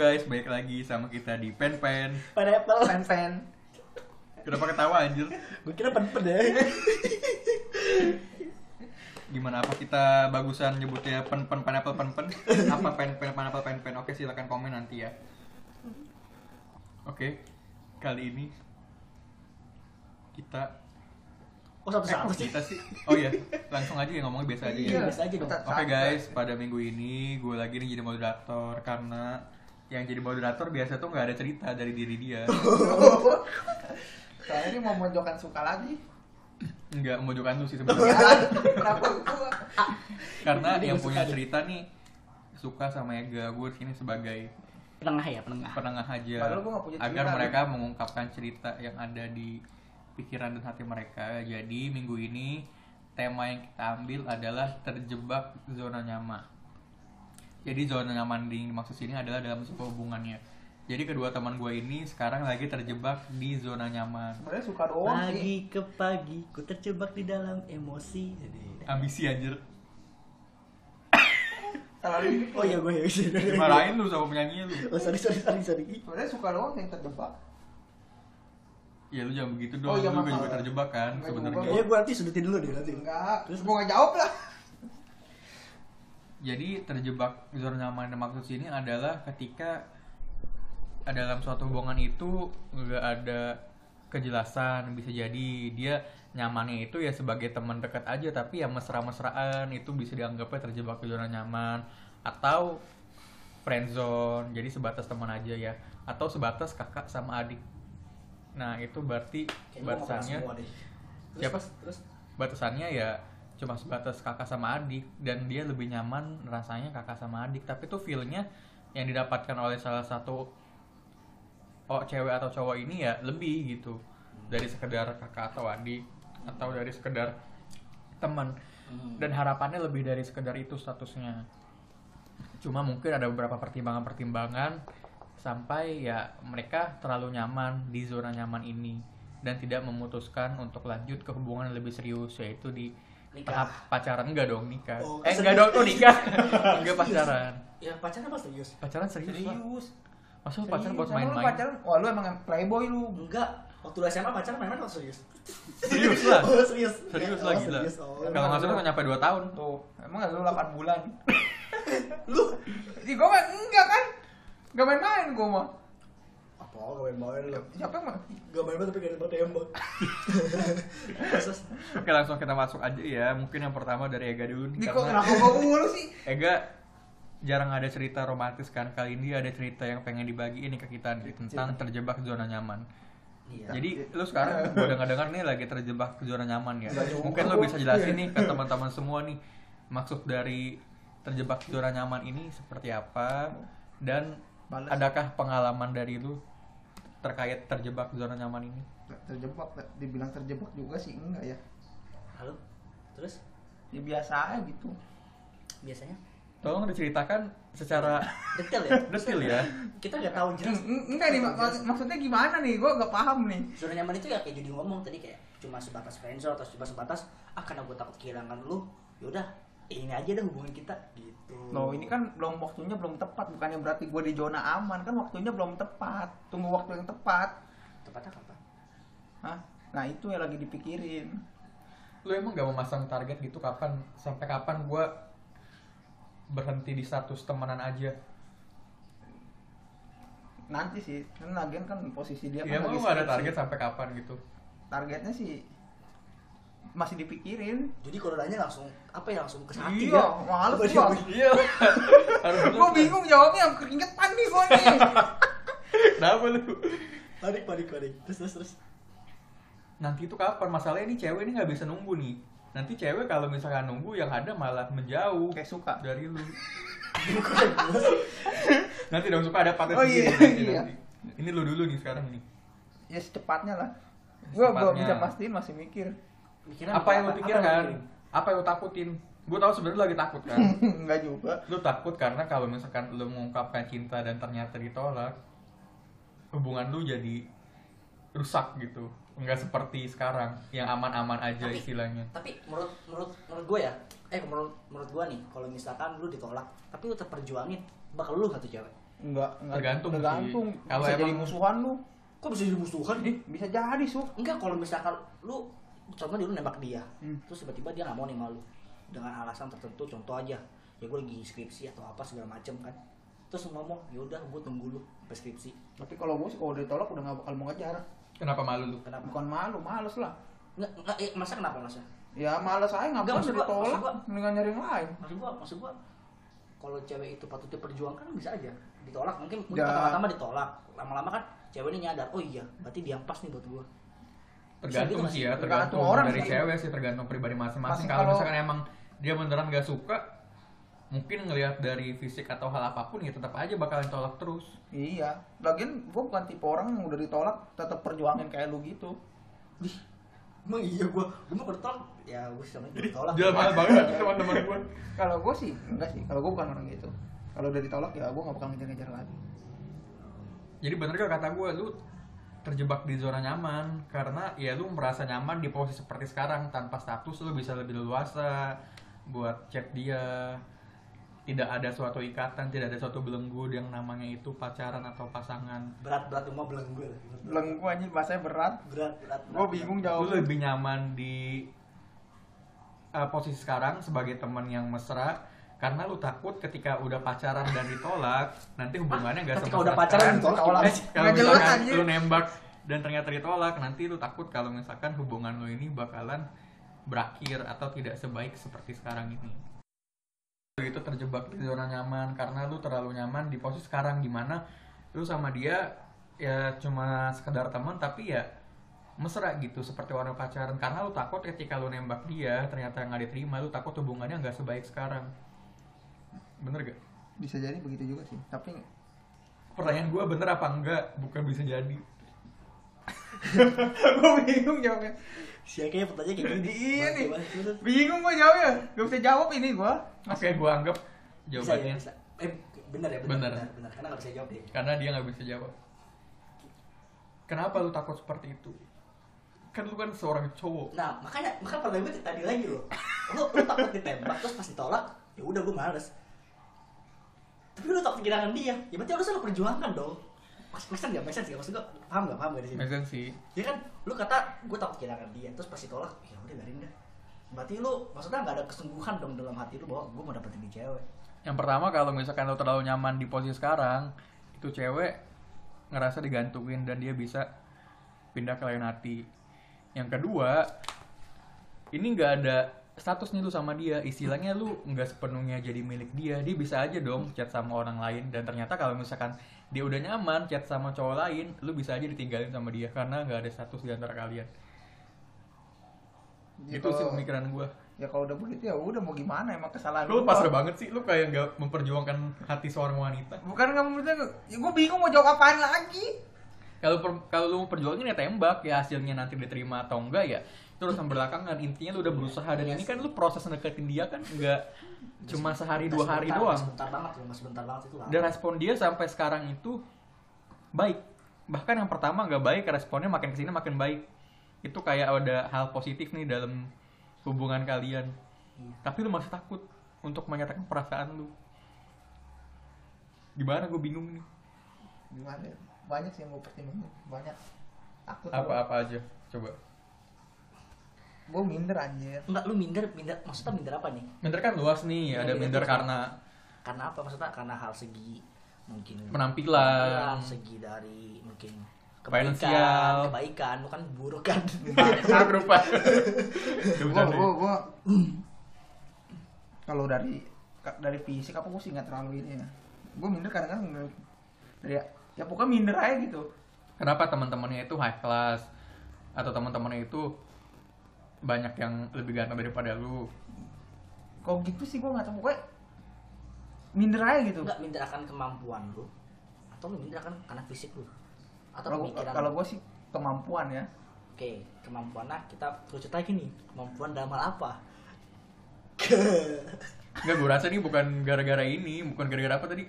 lagi sama kita di Pen Pen. Pineapple. Fan fan. Kenapa ketawa anjir? Gue kira pen-pen ya. Gimana apa kita bagusan nyebutnya pen pen pineapple pen pen? Apa pen pen pineapple pen pen? Oke, silakan komen nanti ya. Oke. Kali ini kita Oh satu eh, kok satu sih. kita sih. Oh iya, langsung aja ya ngomongnya biasa aja ya. Iya. biasa aja dong. Tetap Oke santai. guys, pada minggu ini gue lagi nih jadi moderator karena yang jadi moderator biasa tuh nggak ada cerita dari diri dia, Soalnya ini mau mojokan suka lagi. nggak memojokkan lu sih Iya. sebenarnya. Jalan. Kenapa gua? karena Jadi yang gua punya suka cerita nih suka sama Ega gue sini sebagai Penengah ya penengah. penengah aja Nah, Padahal gua nggak punya agar cerita, mereka mengungkapkan cerita yang ada di pikiran dan hati mereka jadi minggu ini tema yang kita ambil adalah terjebak zona nyaman jadi zona nyaman di maksud sini adalah dalam sebuah hubungannya jadi kedua teman gue ini sekarang lagi terjebak di zona nyaman Sebenarnya suka doang sih. Pagi ke pagi, ku terjebak di dalam emosi. ambisi anjir Salah ini. Oh iya gue ya. dimarahin lu sama penyanyi lu Oh sorry sorry sorry sorry. Sebenarnya suka doang yang terjebak. ya lu jangan begitu dong Oh, iya, lu juga maaf. juga terjebak kan Enggak juga. sebenarnya Iya gue nanti sudutin dulu deh nanti. Enggak. Terus? Gua nggak jawab lah. Jadi terjebak zona nyaman yang maksud sini adalah ketika dalam suatu hubungan itu nggak ada kejelasan bisa jadi dia nyamannya itu ya sebagai teman dekat aja tapi ya mesra-mesraan itu bisa dianggapnya terjebak ke zona nyaman atau friendzone jadi sebatas teman aja ya atau sebatas kakak sama adik nah itu berarti batasannya Terus Siap. pas terus batasannya ya cuma sebatas kakak sama adik dan dia lebih nyaman rasanya kakak sama adik tapi tuh feelnya yang didapatkan oleh salah satu oh cewek atau cowok ini ya lebih gitu dari sekedar kakak atau adik atau dari sekedar teman dan harapannya lebih dari sekedar itu statusnya cuma mungkin ada beberapa pertimbangan-pertimbangan sampai ya mereka terlalu nyaman di zona nyaman ini dan tidak memutuskan untuk lanjut ke hubungan yang lebih serius yaitu di tahap pacaran enggak dong nikah Oh, eh serius. enggak dong tuh nikah enggak pacaran Ya pacaran apa serius? pacaran serius, lah serius. masa lu pacaran buat Serius. Emang lu main-main Pacaran. Wah, lu emang playboy lu. Enggak. Waktu lu SMA pacaran main-main atau serius? serius lah Oh serius. serius Oh, lah gila serius. Oh. kalau nggak salah nyampe 2 tahun Tuh, emang lu 8 bulan. Lu Ih, gua mah enggak kan. Enggak main-main gua mah. apa gak main-main lu? Siapa yang mah? Gak main-main tapi gak ada tembak. Terus oke langsung kita masuk aja ya mungkin yang pertama dari Ega dulu nih, Di kok karena- kenapa gua mulu sih? Ega jarang ada cerita romantis kan kali ini ada cerita yang pengen dibagiin nih ke kita nih, tentang terjebak zona nyaman. Iya. Ya. Jadi lu sekarang gue dengar dengar nih lagi terjebak ke zona nyaman ya. Nggak juga. Mungkin lu Iya. bisa jelasin nih ke teman-teman semua nih maksud dari terjebak zona nyaman ini seperti apa dan Balas. adakah pengalaman dari lu terkait terjebak zona nyaman ini? terjebak dibilang terjebak juga sih enggak ya Halo. Terus ya biasa aja gitu biasanya Tolong diceritakan secara detail ya. detail ya. Kita gak tahu jelas. Eng- eng- enggak nih mak- mak- maksudnya gimana nih gua gak paham nih zona nyaman itu ya kayak jadi ngomong tadi kayak cuma sebatas friendzone atau cuma sebatas ah karena gue takut kehilangan lu yaudah ini aja deh hubungan kita gitu Loh ini kan belum waktunya belum tepat bukannya berarti gua di zona aman kan waktunya belum tepat tunggu waktu yang tepat tempatnya kapan Hah? nah itu yang lagi dipikirin lu emang gak memasang target gitu kapan sampai kapan gua berhenti di status temenan aja nanti sih kan lagian kan posisi dia ya kan emang lu lagi gak ada sibuk target sih. sampai kapan gitu targetnya sih masih dipikirin jadi kalau nanya langsung apa ya langsung ke hati iya ya males Apa gua dia- iya harus gua bingung jawabnya keringetan nih gua nih kenapa lu panik panik panik terus terus terus nanti itu kapan masalahnya ini cewek ini nggak bisa nunggu nih nanti cewek kalau misalkan nunggu yang ada malah menjauh kayak suka dari lu bukan gua sih nanti dong suka ada patah Oh, sendiri iya, nanti, iya. nanti. ini lu dulu nih sekarang nih ya secepatnya lah gua belum Secepatnya. bisa pastiin masih mikir Pikiran apa yang lu pikirkan pikirin? apa yang lu takutin gua tahu sebenarnya lu lagi takut kan Hmm. nggak juga lu takut karena kalau misalkan lu mengungkapkan cinta dan ternyata ditolak hubungan lu jadi rusak gitu nggak seperti sekarang yang aman-aman aja Tapi- istilahnya tapi menurut menurut menurut gue ya eh menurut menurut gue nih kalau misalkan lu ditolak tapi lu tetap perjuangin bakal lu gak tuh cewek Enggak, enggak Tergantung sih. tergantung. Kalau bisa jadi emang- musuhan lu. kok bisa jadi musuhan Ih, bisa jadi, Su. enggak kalau misalkan lu contoh dulu nembak dia Hmm. terus tiba-tiba dia nggak mau nih malu dengan alasan tertentu contoh aja ya gue lagi skripsi atau apa segala macem kan terus lu ngomong yaudah gue tunggu lu sampai skripsi Tapi kalau gue sih kalau udah ditolak udah gak bakal mau ngejar. Kenapa malu lu? kenapa Bukan malu, males lah. nggak, nggak eh, masa kenapa masa Ya males aja Enggak, ngapain maksud udah gua- maksud ditolak, gua- mendingan nyari yang lain. maksud gue maksud gue kalau cewek itu patutnya perjuangkan kan bisa aja ditolak mungkin mungkin Ya. pertama-tama ditolak lama-lama kan cewek ini nyadar oh iya berarti dia yang pas nih buat gue Tergantung Bisa sih ya, gitu nggak sih? tergantung Tergantung orang dari sih. cewek sih, tergantung pribadi masing-masing. Masing Kalau kalau- misalkan emang dia beneran gak suka, mungkin ngelihat dari fisik atau hal apapun ya tetap aja bakalan tolak terus. Iya. Lagian gue bukan tipe orang yang udah ditolak tetap perjuangin kayak lu gitu. emang iya gue gue mau ditolak ya gue sama ditolak Jalan banget teman-teman gue. Kalau gue sih enggak sih. Kalau gue bukan orang gitu. Kalau udah ditolak ya gue gak bakal ngejar-ngejar lagi. Jadi bener gak kata gue, lu terjebak di zona nyaman karena ya lu merasa nyaman di posisi seperti sekarang tanpa status lu bisa lebih leluasa buat chat dia tidak ada suatu ikatan tidak ada suatu belenggu yang namanya itu pacaran atau pasangan berat berat cuma beleng gue lah. Belenggu anjir bahasanya berat. berat berat Gue bingung lu jawabnya. lebih nyaman di uh, posisi sekarang sebagai teman yang mesra karena lu takut ketika udah pacaran dan ditolak nanti hubungannya gak ketika udah pacaran ditolak Tolak. gimana sih? kalau Eh, Nggak jelas, misalkan anjir. lu nembak dan ternyata ditolak nanti lu takut kalau misalkan hubungan lu ini bakalan berakhir atau tidak sebaik seperti sekarang ini lu itu terjebak di zona nyaman karena lu terlalu nyaman di posisi sekarang dimana lu sama dia ya cuma sekedar teman tapi ya mesra gitu seperti orang pacaran karena lu takut ketika lu nembak dia ternyata nggak diterima lu takut hubungannya nggak sebaik sekarang bener gak Bisa jadi begitu juga sih. Tapi pertanyaan gue bener apa enggak bukan bisa jadi gue bingung jawabnya. si Ake pertanyaan kayak gini Iya nih. Bantu, bantu. Bingung gue jawabnya. Gak bisa jawab ini gue. oke gue anggap bisa ya jawabannya bisa eh benar ya Bener. benar benar, benar. karena nggak bisa jawab deh karena dia nggak bisa jawab kenapa lu takut seperti itu kan lu kan seorang cowok nah makanya makanya pertanyaan gue tadi lagi loh lu lu takut ditembak terus pas ditolak ya udah gue males tapi lu tak kehilangan dia ya berarti harusnya lu perjuangkan dong Mas, make sense gak? Make sense gak? Maksud gue, paham gak? Paham gak di sini? Maksudnya sih Ya kan, lu kata gue takut kehilangan dia, terus pas ditolak, ya udah biarin dah. Berarti lu, maksudnya gak ada kesungguhan dong dalam hati lu bahwa gue mau dapetin di cewek. yang pertama kalau misalkan lu terlalu nyaman di posisi sekarang itu cewek ngerasa digantungin dan dia bisa pindah ke lain hati yang kedua ini nggak ada status nih lu sama dia istilahnya lu nggak sepenuhnya jadi milik dia dia bisa aja dong chat sama orang lain dan ternyata kalau misalkan dia udah nyaman chat sama cowok lain lu bisa aja ditinggalin sama dia karena nggak ada status di antara kalian Gitu itu sih pemikiran gua Ya kalau udah begitu ya udah mau gimana emang kesalahan lu gua. pasrah banget sih lu kayak nggak memperjuangkan hati seorang wanita Bukan nggak maksudnya gue bingung mau jawab apaan lagi. kalau per- kalau lu mau perjuangin ya tembak ya hasilnya nanti diterima atau enggak ya itu urusan belakangan intinya lu udah berusaha dan ini kan lu proses deketin dia kan enggak cuma sehari dua hari Sebentar, doang Sebentar banget loh, mas sebentar banget itu lama. dan respon dia sampai sekarang itu baik bahkan yang pertama nggak baik responnya makin kesini makin baik itu kayak ada hal positif nih dalam hubungan kalian Iya. tapi lu masih takut untuk menyatakan perasaan lu gimana gue bingung nih Gimana? ya? Banyak sih yang gue pertimbangin. Banyak. Takut. apa-apa aja coba Gue minder anjir. Enggak, lu minder, minder, maksudnya minder apa nih? minder kan luas Iya, nih ada minder karena Karena apa? Maksudnya karena hal segi mungkin Penampilan. segi dari mungkin Finansial. kebaikan, kebaikan, bukan buruk kan? Iya. buruk rupa Ya, Gue gue gue. Kalau dari ka- dari fisik apa gue sih nggak terlalu ini ya. Gue minder kadang-kadang minder. Dari ya pokoknya minder aja gitu. kenapa teman-temannya itu high class atau teman-temannya itu banyak yang lebih ganteng daripada lu Kok gitu sih gue nggak tahu pokoknya minder aja gitu. Enggak minder akan kemampuan lu atau lu minder akan karena fisik lu atau Kalau pemikiran. kalau lu? gue sih kemampuan ya. Oke, kemampuan nah kita kerucut lagi nih. Kemampuan dalam hal apa? Enggak, gue rasa ini bukan gara-gara ini, bukan gara-gara apa tadi?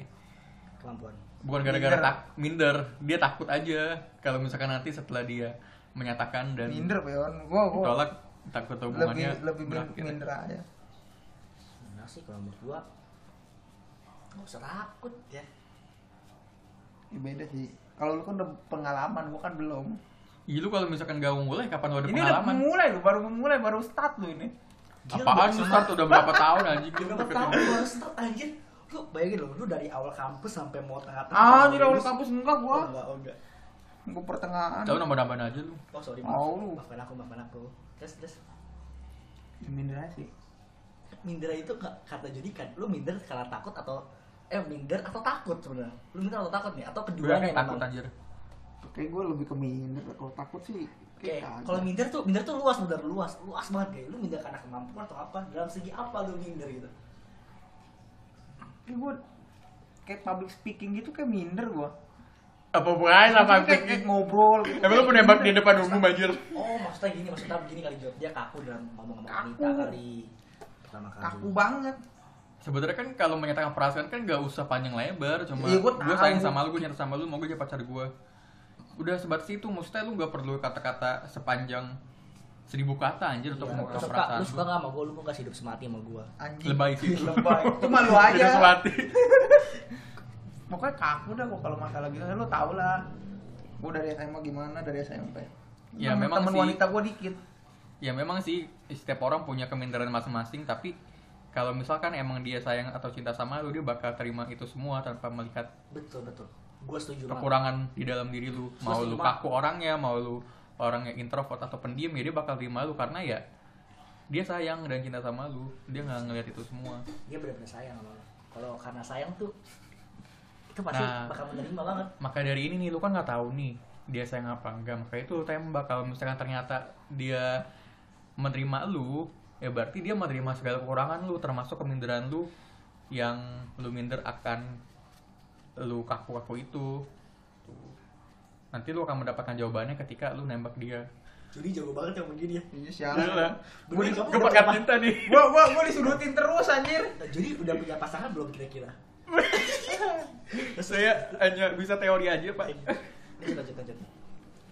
Kemampuan. Bukan gara-gara Minder. tak minder, dia takut aja kalau misalkan nanti setelah dia menyatakan dan Minder peon. Gue gue ditolak takut lebih hubungannya gitu ya. lebih min- ya. berakhir. minder aja. Nah sih kalau menurut gua nggak usah takut ya. Ya beda sih. Kalau lu kan udah pengalaman, gua kan belum. Iya lu kalau misalkan gak mau mulai kapan lu ada ini pengalaman? udah mulai lu, baru mulai, baru start lu ini. Gila, Apaan bagus lu banget. start udah berapa tahun anjing? Udah berapa tahun gue harus start anjir Lu bayangin loh, lu dari awal kampus sampai mau tengah-tengah Ah, sampai jadi awal lulus. kampus enggak Oh, gua. Enggak, oh, enggak Gua pertengahan. Tahu nambah-nambahin aja lu. Oh sorry, Mau maaf lu. Maafkan aku, maafkan aku Terus, terus Ya, Minder sih. Minder itu nggak kata judikan Lu minder karena takut atau Eh, minder atau takut sebenarnya Lu minder atau takut nih? Atau Gue keduanya takut memang? anjir. Kayak gua lebih ke minder, kalau takut sih Oke, kayak kagak. kalau minder tuh, minder tuh luas, bener luas, luas banget kayak lu minder karena kemampuan atau apa? Dalam segi apa lu minder gitu? Kayak gua kayak public speaking gitu kayak minder gua. Apa bukan lah Kayak- kayak ngobrol. gitu. Emang lu penembak di depan umum anjir? Oh, maksudnya gini, maksudnya begini kali jawab dia kaku dalam ngomong-ngomong Kaku. wanita kali. Pertama kali. kaku banget. Sebenarnya kan kalau menyatakan perasaan kan gak usah panjang lebar, cuma Iya, gue gua tahu. sayang sama lu, gue nyata sama lu, mau gue jadi pacar gue. Udah sebatas itu, maksudnya lu gak perlu kata-kata sepanjang seribu kata anjir untuk Iya, lu mengungkap suka, perasaan lu suka lu. gak sama gue, lu mau kasih hidup semati sama gue Anjing. Lebay sih. Lebay. Cuma lu aja. Hidup mati. Pokoknya kaku dah gua kalau masalah gitu. Lu tau lah. Gua dari SMA gimana, dari SMP. Ya, Temen- memang temen sih. wanita gua dikit. Ya memang sih setiap orang punya keminderan masing-masing tapi kalau misalkan emang dia sayang atau cinta sama lu dia bakal terima itu semua tanpa melihat Betul, betul Gue setuju banget kekurangan di dalam diri lu mau lu Mas, kaku orangnya mau lu orangnya introvert atau pendiam ya dia bakal terima lu karena ya dia sayang dan cinta sama lu dia nggak ngelihat itu semua Dia bener-bener sayang sama lu Kalau karena sayang tuh Itu pasti Nah. bakal menerima banget maka dari ini nih lu kan nggak tahu nih dia sayang apa enggak maka itu lu tembak kalau misalkan ternyata dia menerima lu ya berarti dia menerima segala kekurangan lu termasuk keminderan lu yang lu minder akan lu kaku-kaku itu Tuh. nanti lu akan mendapatkan jawabannya ketika lu nembak dia Jadi jago banget yang begini ya Iya Iyalah. Gua di- Gue pakai cinta nih. Gua gua gua disudutin terus anjir. Nah, Jadi udah punya pasangan belum kira-kira? Saya hanya bisa teori aja, Pak. Lanjut, lanjut, lanjut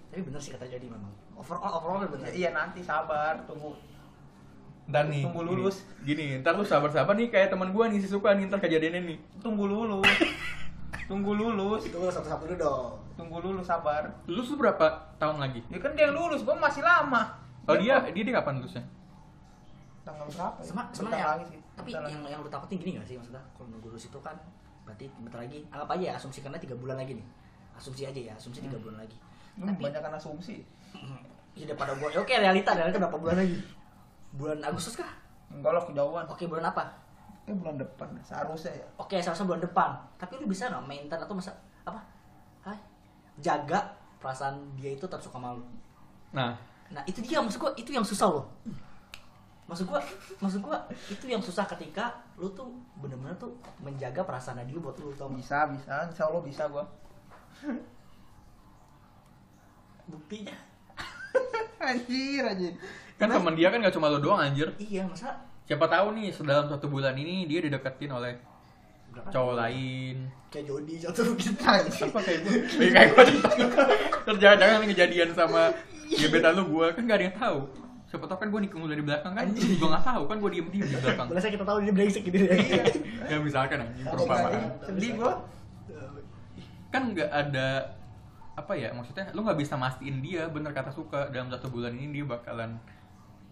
Tapi bener sih kata jadi memang Overall, overall bener Iya nanti sabar, tunggu. Ntar nih. Tunggu gini. lulus. Gini, ntar lu sabar-sabar nih kayak teman gua nih si suka nih ntar kejadiannya nih. Tunggu lulus. tunggu lulus, Itu lu satu-satu dulu dong tunggu lulus sabar. Lulus lu berapa tahun lagi? Ya kan dia yang lulus, gua masih lama. Oh dia dia, dia kapan lulusnya? tanggal berapa? Sama, Bentar sama ya. lagi sih. Tapi Bentar yang lagi. yang lu takutin gini gak sih maksudnya? Kalau nunggu lulus itu kan berarti bentar lagi anggap aja ya, asumsikannya tiga bulan lagi nih. Asumsi aja ya, asumsi tiga bulan lagi. Lu Tapi kebanyakan Hmm, asumsi. ya udah pada gua, ya oke realita, realita berapa bulan lagi? Bulan Agustus kah? Enggak lah kejauhan. Oke bulan apa? Kayak bulan depan seharusnya ya. Oke seharusnya bulan depan. Tapi lu bisa nggak maintain atau masa apa? Hah? Jaga perasaan dia itu tetap suka malu. Nah, Nah itu dia maksud gua itu yang susah loh. Maksud gua, maksud gua itu yang susah ketika lu tuh bener-bener tuh menjaga perasaan dia buat lu tau nggak? Bisa, bisa. Insya Allah bisa gua. buktinya anjir, anjir. kan teman dia kan gak cuma lo doang anjir. iya masa Siapa tahu nih dalam satu bulan ini dia dideketin oleh berapa cowok lain. kayak Jody jatuh gitu Apa kayak gue? kayak gue Terjangan-jangan nih kejadian sama gebetan lu gue kan gak ada yang tahu. Siapa tahu kan gue nikung lu dari belakang kan lu juga gak tahu kan gue diem-diem di belakang. Boleh saya kita tahu dia brengsek gitu ya ya misalkan anjing Tapi perumpamaan iya? nggak Sedih gua. kan nggak ada apa ya maksudnya lu nggak bisa mastiin dia bener kata suka dalam satu bulan ini dia bakalan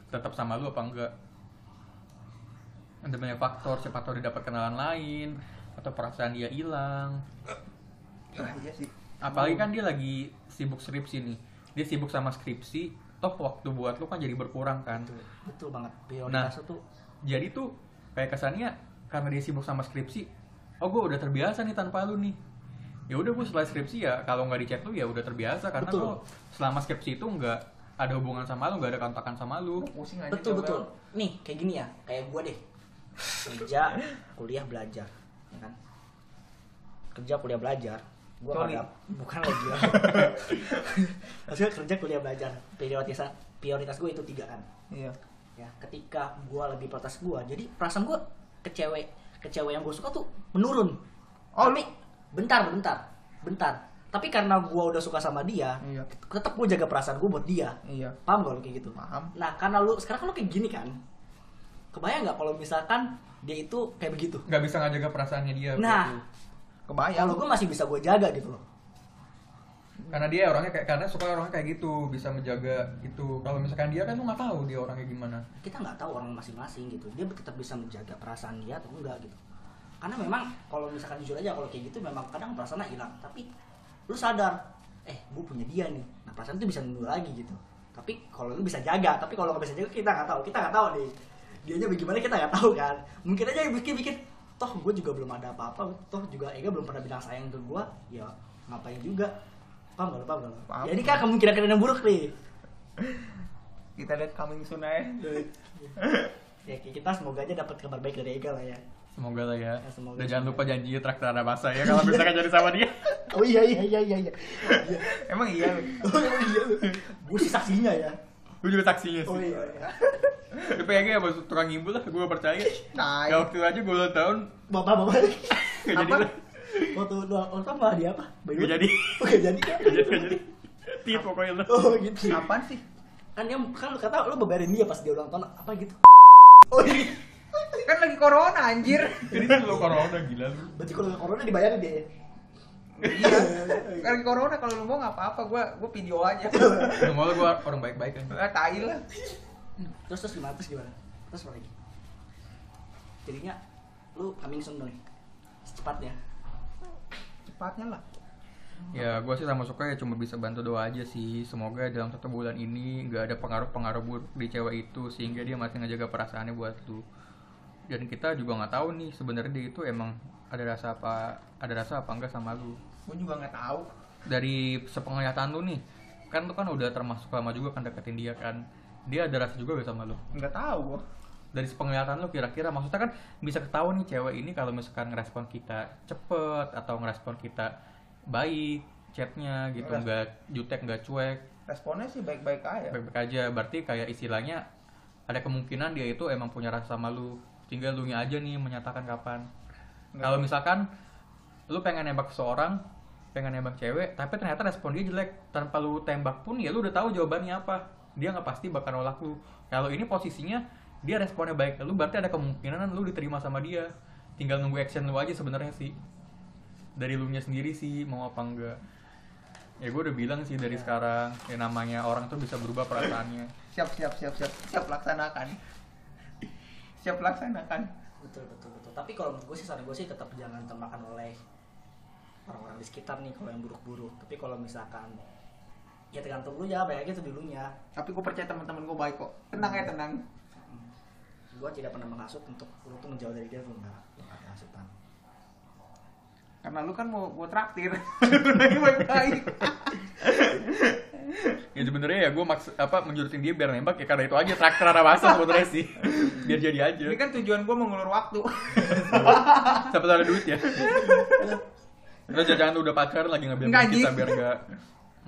tetap sama lu apa enggak ada banyak faktor siapa tahu dia dapat kenalan lain atau perasaan dia hilang Ah, iya sih. apalagi kan dia lagi sibuk skripsi nih dia sibuk sama skripsi toh waktu buat lu kan jadi berkurang kan betul banget prioritas Nah. itu tuh jadi tuh kayak kesannya karena dia sibuk sama skripsi oh gue udah terbiasa nih tanpa lu nih ya udah gue setelah skripsi ya kalau nggak di chat lu ya udah terbiasa karena Betul. lu selama skripsi itu nggak ada hubungan sama lu nggak ada kontakan sama lu Pusing anjir. betul coba. betul nih kayak gini ya kayak gua deh kerja kuliah belajar ya kan kerja kuliah belajar gua Coli. nggak dap- bukan lagi ya maksudnya kerja kuliah belajar prioritas prioritas gue itu tiga kan Iya. ya ketika gua lebih protes gua jadi perasaan gua ke cewek ke cewek yang gua suka tuh menurun Oh, tapi bentar bentar bentar tapi karena gua udah suka sama dia Iya. tetap gua jaga perasaan gua buat dia Iya. paham gak lu kayak gitu Paham. nah karena lu sekarang kan lu kayak gini kan kebayang nggak kalau misalkan dia itu kayak begitu nggak bisa ngejaga perasaannya dia nah Kebayang. kalau gua masih bisa gua jaga gitu loh karena dia orangnya kayak karena suka orangnya kayak gitu bisa menjaga itu kalau misalkan dia kan lu nggak tahu dia orangnya gimana kita nggak tahu orang masing-masing gitu dia tetap bisa menjaga perasaan dia atau enggak gitu karena memang kalau misalkan jujur aja kalau kayak gitu memang kadang perasaannya hilang tapi lu sadar eh gue punya dia nih nah perasaan itu bisa nunggu lagi gitu tapi kalau lu bisa jaga tapi kalau nggak bisa jaga kita nggak tahu kita nggak tahu nih dianya bagaimana kita nggak tahu kan mungkin aja yang bikin bikin toh gue juga belum ada apa-apa toh juga Ega belum pernah bilang sayang ke gue ya ngapain juga paham gak lu paham gak lu? Paham. ya ini kan kemungkinan kemungkinan buruk nih Kita lihat coming soon aja. ya kita semoga aja dapat kabar baik dari Ega lah ya semoga lah ya Ya, semoga. dan jangan lupa janji traktir ada masa ya kalau misalkan jadi sama dia oh iya iya iya iya iya Emang iya. oh iya gue sih saksinya ya gue juga saksinya oh sih iya iya tapi kayaknya ya maksud tukang ngibul lah gue percaya Nah, ya waktu aja gue ulang tahun bapak bapak gak jadi Apa? lah waktu doa orang apa dia apa Bayu? gak jadi oh gak jadi kan gak jadi gak jadi tiap pokoknya lah oh gitu apaan sih? kan dia kan lu kata lu bebarin dia pas dia ulang tahun apa gitu oh iya Kan lagi corona anjir. jadi itu lo corona gila lu berarti kalau nggak corona dibayarin dia ya Iya. Kan lagi corona kalau lu mau nggak apa-apa gua gua video aja. Semoga gue orang baik-baik kan Ah, tai lah. terus terus gimana terus gimana terus apa lagi jadinya lu coming soon dong secepatnya Cepatnya lah. Ya gue sih sama suka ya cuma bisa bantu doa aja sih Semoga dalam satu bulan ini gak ada pengaruh-pengaruh buruk di cewek itu Sehingga dia masih ngejaga perasaannya buat lu Dan kita juga nggak tahu nih sebenarnya dia itu emang ada rasa apa ada rasa apa enggak sama lu Gua juga nggak tahu. Dari sepenglihatan lu nih Kan lu kan udah termasuk lama juga kan deketin dia kan Dia ada rasa juga gak sama lu Nggak tahu gua. dari penglihatan lo kira-kira maksudnya kan bisa ketahuan nih cewek ini kalau misalkan ngerespon kita cepet atau ngerespon kita baik chatnya gitu Ngeres- nggak jutek nggak cuek Responnya sih baik-baik aja. baik-baik aja berarti kayak istilahnya ada kemungkinan dia itu emang punya rasa sama lu tinggal lu nya aja nih menyatakan kapan Nggak. kalau misalkan lu pengen nembak seorang pengen nembak cewek tapi ternyata respon dia jelek tanpa lu tembak pun ya lu udah tahu jawabannya apa dia nggak pasti bakal nolak lu kalau ini posisinya dia responnya baik ke lu berarti ada kemungkinan lu diterima sama dia tinggal nunggu action lu aja sebenarnya sih dari lu nya sendiri sih mau apa enggak ya gue udah bilang sih dari sekarang ya namanya orang tuh bisa berubah perasaannya Siap siap siap siap siap laksanakan. Siap laksanakan. betul betul betul tapi kalau menurut gue sih saran gue sih tetap jangan termakan oleh orang-orang di sekitar nih kalau yang buruk-buruk tapi kalau misalkan ya tergantung lu ya baiknya itu dulunya Tapi gua percaya teman-teman gua baik kok. Tenang ya tenang. gue tidak pernah menghasut untuk lu tuh menjauh dari dia tuh enggak Gua nggak ada hasutan Karena lu kan mau gua traktir. baik-baik. ya sebenarnya ya gue maks apa menjurutin dia biar nembak ya karena itu aja traktor arah masa sebenarnya sih biar jadi aja Ini kan tujuan gua mengulur waktu. sampai ada duit ya lo jangan udah pacaran lagi ngambil Nggak, kita Ji. biar nggak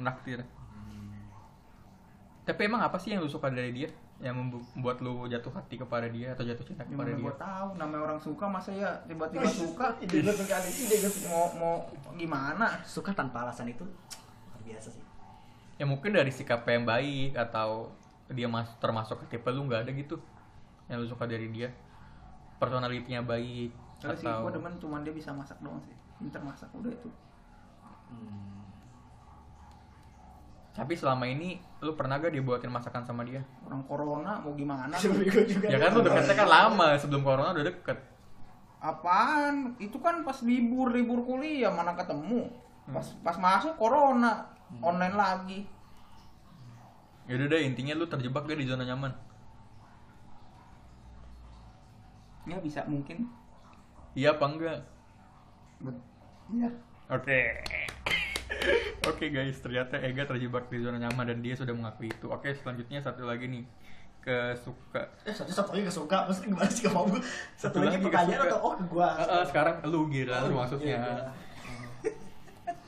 menaktir tapi emang apa sih yang lu suka dari dia yang membu- membuat lu jatuh hati kepada dia atau jatuh cinta kepada Gimana dia gua tahu namanya orang suka masa ya tiba-tiba suka Iya. Ide gua sekali, ide gua mau mau gimana? suka tanpa alasan itu luar biasa sih ya mungkin dari sikap yang baik atau dia mas termasuk ke tipe lu nggak ada gitu yang lu suka dari dia personalitinya baik Kalau sih atau gua demen cuman dia bisa masak doang sih. Pinter masak udah itu. hmm. tapi selama ini lu pernah gak dibuatin masakan sama dia Orang corona mau gimana? Gua juga ya kan lu deketnya kan lama sebelum corona udah deket Apaan? Itu kan pas libur libur kuliah mana ketemu. Hmm. Pas pas masuk corona online lagi. ya udah deh intinya lu terjebak deh di zona nyaman Ya bisa mungkin. iya apa enggak Bet- Ya. oke oke guys ternyata Ega terjebak di zona nyaman dan dia sudah mengakui itu oke selanjutnya satu lagi nih kesuka eh satu satu lagi gak suka maksudnya gimana sih gak mau gue satu, lagi lagi nggak pertanyaan suka. atau oh Iya, ke gue Eh, eh, sekarang lu gila lu Iya, maksudnya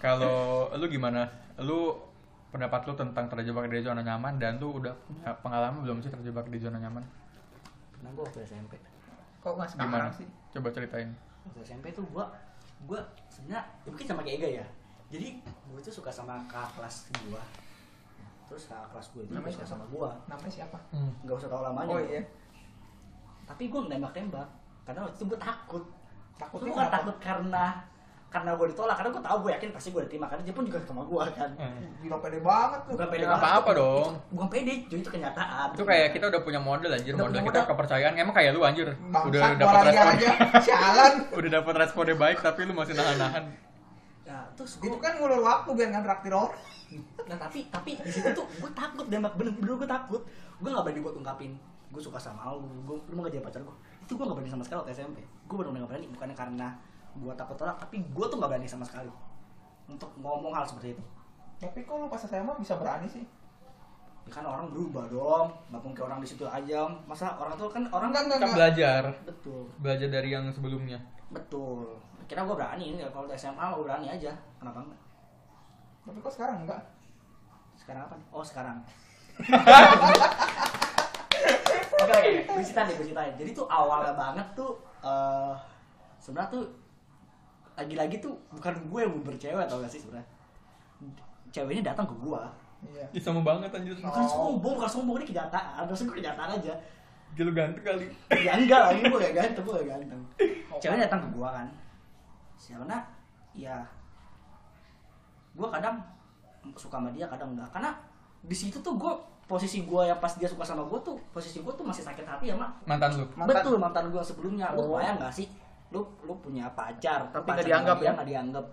Kalau lu gimana? Lu pendapat lu tentang terjebak di zona nyaman dan lu udah punya pengalaman belum sih terjebak di zona nyaman? nah gue waktu SMP Kok nggak Gimana? sekarang sih? Coba ceritain. waktu SMP tuh gua gua sebenarnya ya mungkin sama kayak Ega ya jadi gua tuh suka sama kakak kelas gua terus kakak kelas gua itu Namanya suka siapa? sama gua Namanya siapa? nggak usah tahu lamanya Oh iya. tapi gua nembak nembak karena waktu itu gua takut gua Takutnya bukan kenapa? takut karena karena gue ditolak karena gue tahu gue yakin pasti gue diterima karena dia pun juga sama gue kan Hmm. Gila pede banget tuh. bukan pede Ya, banget, apa-apa itu- dong. itu bukan pede cuy itu kenyataan Itu kayak kita udah punya model anjir, Udah model punya kita modal. kepercayaan. Emang kayak lu anjir. Udah Bangsat dapat malah dia respon. aja. Sialan. Udah dapat responnya baik tapi lu masih nahan-nahan. nah terus gue Itu kan ngulur waktu biar nggak traktir orang. nah tapi tapi di situ tuh gue takut Demak bener bener gue takut gue nggak berani buat ungkapin gue suka sama lu gue lu mau gak jadi pacar gue itu gue nggak berani sama sekali waktu SMP gue bener bener nggak berani bukannya karena gue takut tolak tapi gue tuh nggak berani sama sekali untuk ngomong hal seperti itu Tapi kok lu pas SMA bisa berani sih? ya kan orang berubah dong nggak mungkin orang di situ aja masa orang tuh kan orang Enggak, enggak, Kita enggak. belajar, betul belajar dari yang sebelumnya. betul kira gue berani ya kalau di SMA gue berani aja kenapa enggak Tapi kok sekarang enggak? sekarang apa nih? oh sekarang oke oke gue ceritain deh gue ceritain jadi tuh awalnya banget tuh eh sebenarnya tuh lagi-lagi tuh bukan gue yang uber cewek tau gak sih sebenarnya ceweknya datang ke gue Iya. Ih, sama banget anjir. bukan sombong bukan sombong ini kenyataan maksud gue kenyataan aja Gila lu ganteng kali. ya enggak lah ini gue gak ganteng gue gak ganteng Oh. ceweknya datang ke gue kan karena ya gue kadang suka sama dia kadang enggak karena di situ tuh gue posisi gue yang pas dia suka sama gue tuh posisi gue tuh masih sakit hati ya mak Mantan lu. Mantan. betul mantan gue sebelumnya lu Oh. bayang gak sih lu lu punya pacar Tapi pacar nggak dianggap dia ya? nggak dianggap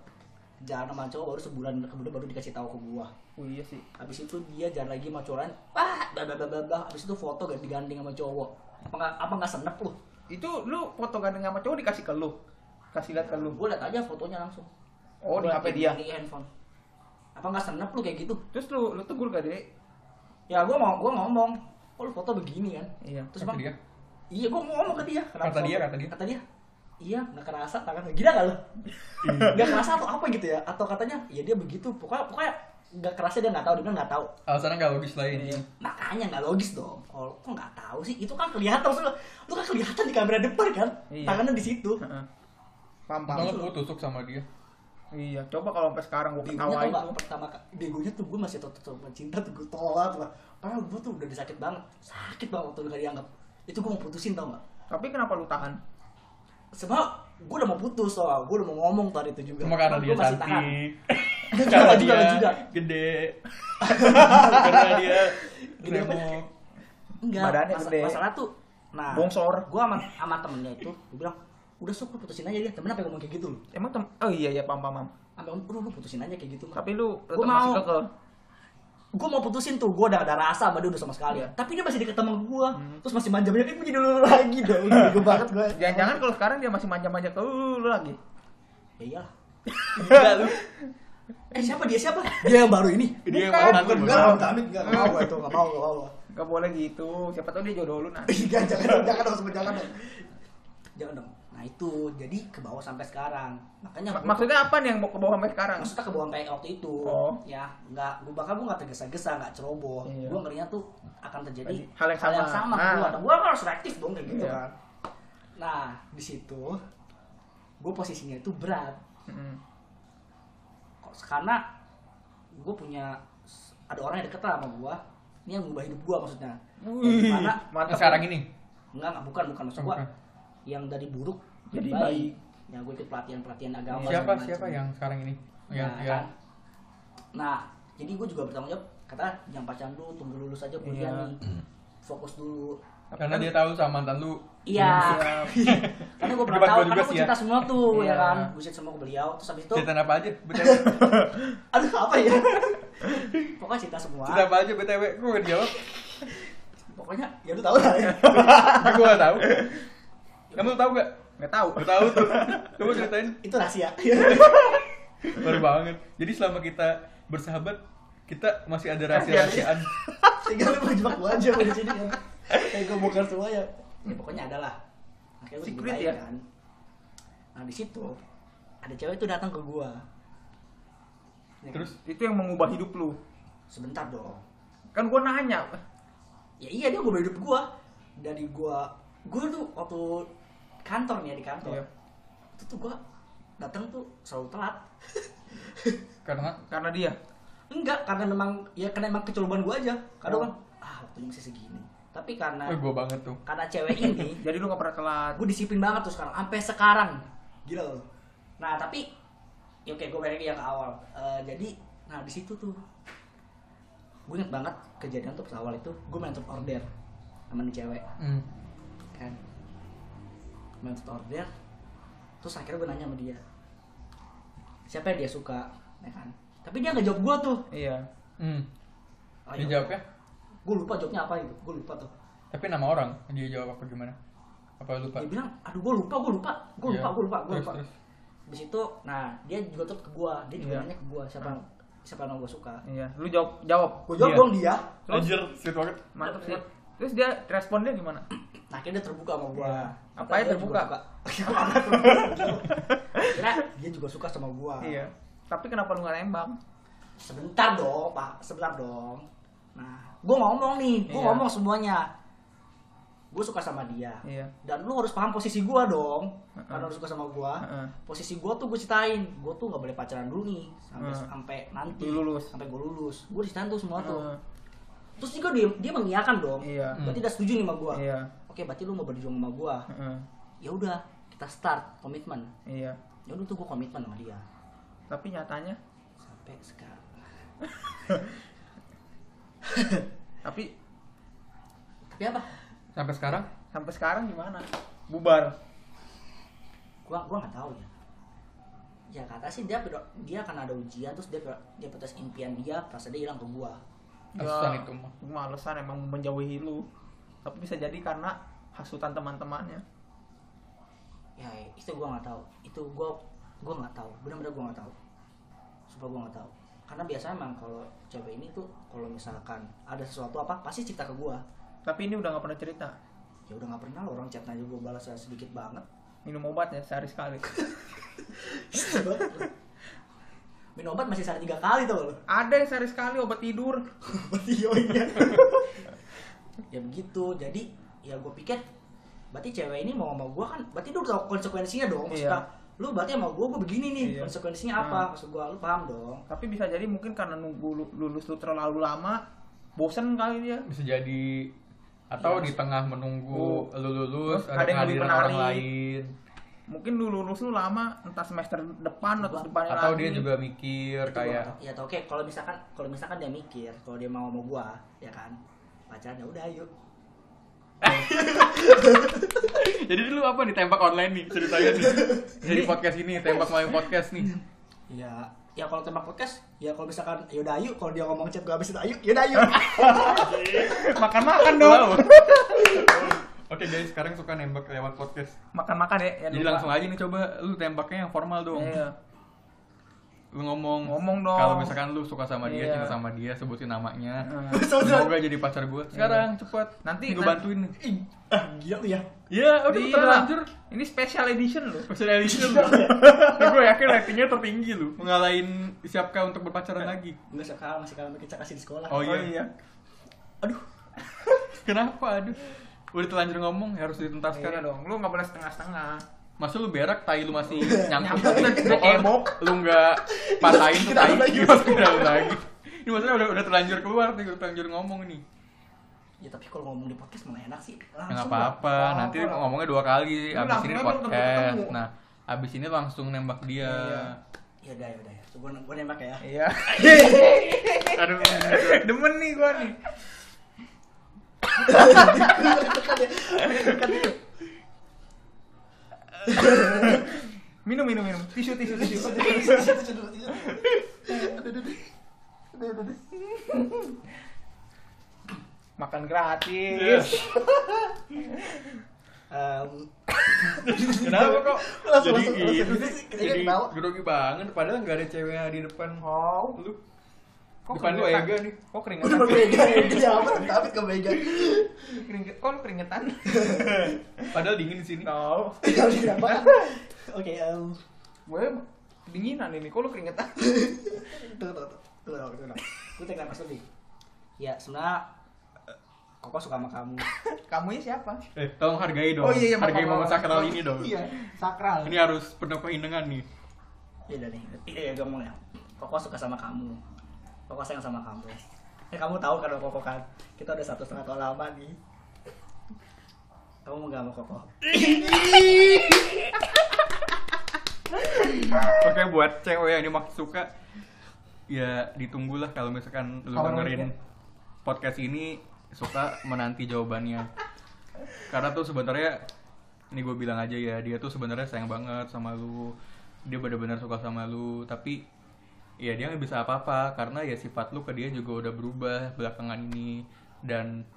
jalan sama cowok baru sebulan kemudian baru dikasih tahu ke gue Oh iya sih. Habis itu dia jalan lagi sama cowok lain. Wah, bla bla bla bla bla. Habis itu foto gak digandeng sama cowok. Apa nggak apa nggak senep lu? Itu lu foto gandeng sama cowok dikasih ke lu. Kasih lihat ke lu. Gue liat aja fotonya langsung. Oh, di Gua HP dia. Di handphone. Apa nggak senep lu kayak gitu? Terus lu lu tegur gak deh? Ya gue mau gue ngomong. Oh lu foto begini kan? Iya. Terus Kata bang, dia. iya gue ngomong ke dia. Kata dia, foto? kata dia. Kata dia, iya nggak kerasa tangan gila gak lu? Iya. Nggak kerasa atau apa gitu ya? Atau katanya, ya dia begitu. Pokoknya pokoknya nggak kerasa dia nggak tahu dia bilang nggak tahu. Alasannya gak logis lain. Iya. makanya nggak logis dong kalau kok nggak tahu sih itu kan kelihatan maksud lu lu kan kelihatan di kamera depan kan Iya. tangannya di situ Heeh. Paham paham. Banget gua tusuk sama dia. Iya, coba kalau sampai sekarang gua begonya tuh ketawain nggak lu. pertama ka- begonya tuh gue masih tutup tutupan cinta tuh gue tolak lah padahal gue tuh udah disakit banget sakit banget waktu gak dianggap itu gue mau putusin tau nggak Tapi kenapa lu tahan? sebab gue udah mau putus soalnya gue udah mau ngomong tadi itu juga Cuma karena Cuman dia gua masih tahan. cantik. Nggak juga, karena nggak juga, dia nggak juga. gede. karena dia Gede apa? remuk. Enggak, Badannya masa- gede. masalah tuh nah Bongsor. gue sama, sama temennya itu gue bilang udah sok lu putusin aja dia temen apa yang ngomong kayak gitu lu Emang tem Oh iya iya paham paham. paham. sampai ngomong udah lu putusin aja kayak gitu Mak." Tapi lu Gua tetap mau. masih kekeh. gue mau putusin tuh gue udah ada rasa sama dia udah sama sekali ya tapi dia masih deket sama gue Hmm. terus masih manja manja eh begini dulu lagi dong gue banget gue Jangan-jangan kalau sekarang dia masih manja-manja ke lu, lu lagi. ya iyalah Gila lu. eh siapa dia siapa dia yang baru ini Dia yang Bukan, mantan lu. bukan gue Bang. orang kami nggak nggak mau gue itu nggak mau nggak mau gua. Gak boleh gitu. Siapa tahu dia jodoh lu nanti. Iya, jangan jangan dong sebut jangan dong jangan dong nah itu jadi ke bawah sampai sekarang makanya Ma- gua- Maksudnya apa nih yang mau ke bawah sampai sekarang? Iya. maksudnya ke bawah sampai waktu itu Oh. ya nggak gue bakal gue nggak tergesa-gesa nggak ceroboh Iya. gue ngerinya tuh akan terjadi Hal yang sama. ke Nah. gua. Gua kan harus reaktif dong kayak gitu Iya. kan nah di situ gue posisinya itu berat Mm. kok karena gue punya ada orang yang deket lah sama gue ini yang ngubah hidup gue maksudnya Yang Wih, dimana- Yang sekarang ini. enggak enggak bukan bukan maksud gue Bukan. yang dari buruk Jadi jadi baik. baik yang gue ikut pelatihan pelatihan agama Siapa segala siapa macam. yang sekarang ini? Ya, Nah, ya. kan? Nah, jadi gue juga bertanggung jawab. Kata jangan pacaran dulu, tunggu lulus aja kuliah Iya. nih. Fokus dulu. Karena dia tahu sama mantan lu. Iya. Iya. karena gue pernah Debat tahu, gua karena juga gue sih ya. cinta semua tuh, Iya. ya kan. Gue cinta semua ke beliau. Terus habis itu, Cerita apa aja? BTW. aduh apa ya? Pokoknya cinta semua. Cerita apa aja BTW? Gua gak jawab. Pokoknya ya lu tau lah. ya. Tapi gua gak tahu. Kamu tahu gak? Gak tahu. Gak tahu tuh. Coba ceritain. itu rahasia. Baru banget. Jadi selama kita bersahabat, kita masih Kan ada rahasia-rahasiaan. Tinggal lu menjebak gue aja di sini kan. Kayak gue bongkar semua ya. Ya pokoknya ada lah. Akhirnya gue Secret dibukain ya? kan. Nah di situ ada cewek itu datang ke gue. Terus Itu yang mengubah hidup lu. sebentar dong. Kan gua nanya. ya iya dia ngubah hidup gua dari gua gua tuh waktu kantor nih ya di kantor Iya. itu tuh gua datang tuh selalu telat karena Karena dia. enggak karena memang ya karena emang kecolongan gua aja kadang Oh. kan ah waktunya masih segini tapi karena eh, gua banget tuh. karena cewek ini Jadi lu gak pernah telat. gue disiplin banget tuh sekarang sampai sekarang gila loh nah tapi ya oke gue balik lagi yang ke awal Eh, jadi nah di situ tuh gue inget banget kejadian tuh pas awal itu gue main top order sama nih cewek Hmm. kan main top order terus akhirnya gue nanya sama dia siapa yang dia suka ya kan tapi dia nggak jawab gue tuh Iya. Hmm. Oh, Dia iya. jawab ya? gue lupa jawabnya apa gitu gue lupa tuh Tapi nama orang dia jawab apa gimana? Apa lupa? dia bilang aduh gue lupa gue lupa gue lupa Iya. gue lupa gue Terus, lupa terus. di situ nah dia juga tuh ke gue dia juga Iya. nanya ke gue siapa siapa yang gue suka Iya. Lu jawab jawab. gue jawab Iya. dong dia Terus? Anjir, sweet banget. Mantap sih. Terus dia respon dia gimana? nah akhirnya dia terbuka sama gue Iya. Apanya terbuka? Kira dia juga suka sama gue Iya. Tapi kenapa lu gak nembak? sebentar dong pak sebentar dong nah gue ngomong nih gue Iya. ngomong semuanya gue suka sama dia Iya. dan lu harus paham posisi gue dong Heeh. karena lu suka sama gue Heeh. posisi gue tuh gue ceritain gue tuh nggak boleh pacaran dulu nih sampai Heeh. sampai nanti Hmm. Lu lulus. sampai gue lulus gue ceritain tuh semua Oh, tuh Heeh. terus juga dia dia mengiyakan dong Iya. berarti dia setuju nih sama gue Iya. oke berarti lu mau berjuang sama gue Heeh. ya udah kita start komitmen Iya. ya udah tuh gue komitmen sama dia Tapi nyatanya sampai sekarang tapi tapi apa Sampai sekarang? sampai sekarang gimana? Bubar. gua gua nggak tahu ya ya kata sih dia pedo- dia akan ada ujian terus dia pedo- dia putus impian dia pas dia hilang ke gua Alasan itu mah. Ya, Cuma alasan emang menjauhi lu. Tapi bisa jadi karena hasutan teman-temannya. ya itu gua nggak tahu itu gua gua nggak tahu benar-benar gua nggak tahu supaya gua nggak tahu karena biasanya emang kalau cewek ini tuh kalau misalkan ada sesuatu apa pasti cerita ke gua Tapi ini udah nggak pernah cerita. ya udah nggak pernah loh orang chatnya aja gua balas sedikit banget Minum obat ya sehari sekali. minum obat masih sehari tiga kali tuh loh Ada yang sehari sekali obat tidur. berarti yoinya ya begitu jadi ya gue pikir berarti cewek ini mau sama gue kan berarti lu udah tahu konsekuensinya dong maksudnya lu berarti sama gue gue begini nih Iya. konsekuensinya apa maksud gue lu paham dong Tapi bisa jadi mungkin karena nunggu lu- lulus lu terlalu lama, bosen kali dia. Bisa jadi atau di tengah menunggu lu lulus Terus ada ada yang lebih kehadiran orang menarik. lain Mungkin lu lulus lu lama, entah semester depan atau depannya atau lagi. dia juga mikir Itu gua nggak kayak tahu. ya tau oke kalau misalkan kalau misalkan dia mikir kalau dia mau sama gue ya kan pacaran ya udah yuk Jadi dulu apa ditembak online nih ceritanya nih. Jadi podcast ini tembak main podcast nih. Iya. ya ya kalau tembak podcast ya kalau misalkan ya udah yuk kalau dia ngomong chat gue habis itu ayo ya udah yuk Makan-makan dong. Oke guys, sekarang suka nembak lewat podcast. Makan-makan ya. ya Jadi lupa. langsung aja nih coba lu tembaknya yang formal dong. Iya. Lu ngomong Ngomong dong. Kalau misalkan lu suka sama dia, Iya. cinta sama dia, sebutin namanya. Nah, Saudara. Semoga jadi pacar gue. Sekarang cepet. Iya. Nanti- gue nanti- bantuin. nih. Ih, ah, gila lu ya Iya, udah Iya. terlanjur. Ini special edition loh. Special edition lu. Iya. gue yakin ratingnya tertinggi lu. Mengalahin siapkah untuk berpacaran lagi. Enggak sekarang masih kalau kita kasih di sekolah Oh, iya. aduh Kenapa? Aduh. Udah terlanjur ngomong harus dituntaskan. Iya dong, lu nggak boleh setengah-setengah. Masa lu berak, tai lu masih nyangkut Nyangkut, udah- udah cebok. Lu nggak patahin tuh tai Masukin ke dalam lagi. Masukin ke dalam lagi Ini maksudnya udah, udah terlanjur keluar nih, udah terlanjur ngomong nih Ya tapi kalau ngomong di podcast mana enak sih. Ya Langsung. nggak apa-apa, lah. nanti ngomongnya dua kali Abis ini Lu langsung aja podcast ketemu. Nah, abis ini langsung nembak dia Iya. Ya udah ya udah ya. Gua gua nembak ya. Iya. Aduh, Demen nih gua nih. Minum minum minum. Tisu tisu tisu. Makan gratis. Em, kenapa kok? Langsung, jadi langsung, gitu, langsung. Kayaknya jadi ketawa. grogi banget Padahal nggak ada cewek di depan Oh. lu Kok Depan lu keringetan? Ega nih. Kok Udah keringetan? berbeda ya, apa? Tapi ke Mega. Keringet, kok lu keringetan? Padahal dingin di sini Tahu. Ya udah nembak. Oke, em, Gue kedinginan ini, kok lu keringetan? tunggu tunggu tunggu. tunggu. tunggu, tunggu. Gua take nafas dulu. Ya, sebenarnya Koko suka sama kamu. Kamunya siapa? Oh, Eh, tolong hargai dong iya, maaf, Hargai maaf, momen maaf. sakral ini dong Iya, sakral. Ini harus penuh keindahan nih Ya udah nih. Iya, gua ngomong ya. Koko suka sama kamu. Koko sayang sama kamu. Ya kamu tahu kan sama Koko kan? Kita udah satu setengah tahun lama nih. Kamu mau gak sama Koko? Oke buat cewek yang dimaksud suka ya ditunggulah kalau misalkan lu Kalau dengerin menurut podcast ini suka menanti jawabannya. Karena tuh sebenarnya ini gue bilang aja ya dia tuh sebenarnya sayang banget sama lu dia benar-benar suka sama lu tapi ya dia nggak bisa apa-apa karena ya sifat lu ke dia juga udah berubah belakangan ini dan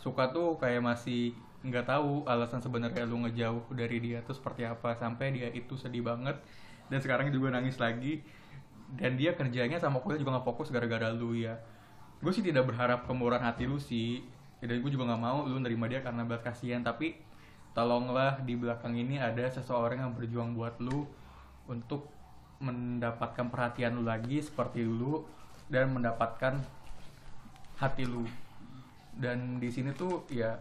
suka tuh kayak masih nggak tahu alasan sebenarnya lu ngejauh dari dia tuh seperti apa sampai dia itu sedih banget dan sekarang juga nangis lagi dan dia kerjanya sama kuliah juga nggak fokus gara-gara lu ya gue sih tidak berharap kemurahan hati lu sih dan gue juga nggak mau lu nerima dia karena belas kasihan tapi tolonglah di belakang ini ada seseorang yang berjuang buat lu untuk mendapatkan perhatian lu lagi seperti lu dan mendapatkan hati lu dan di sini tuh ya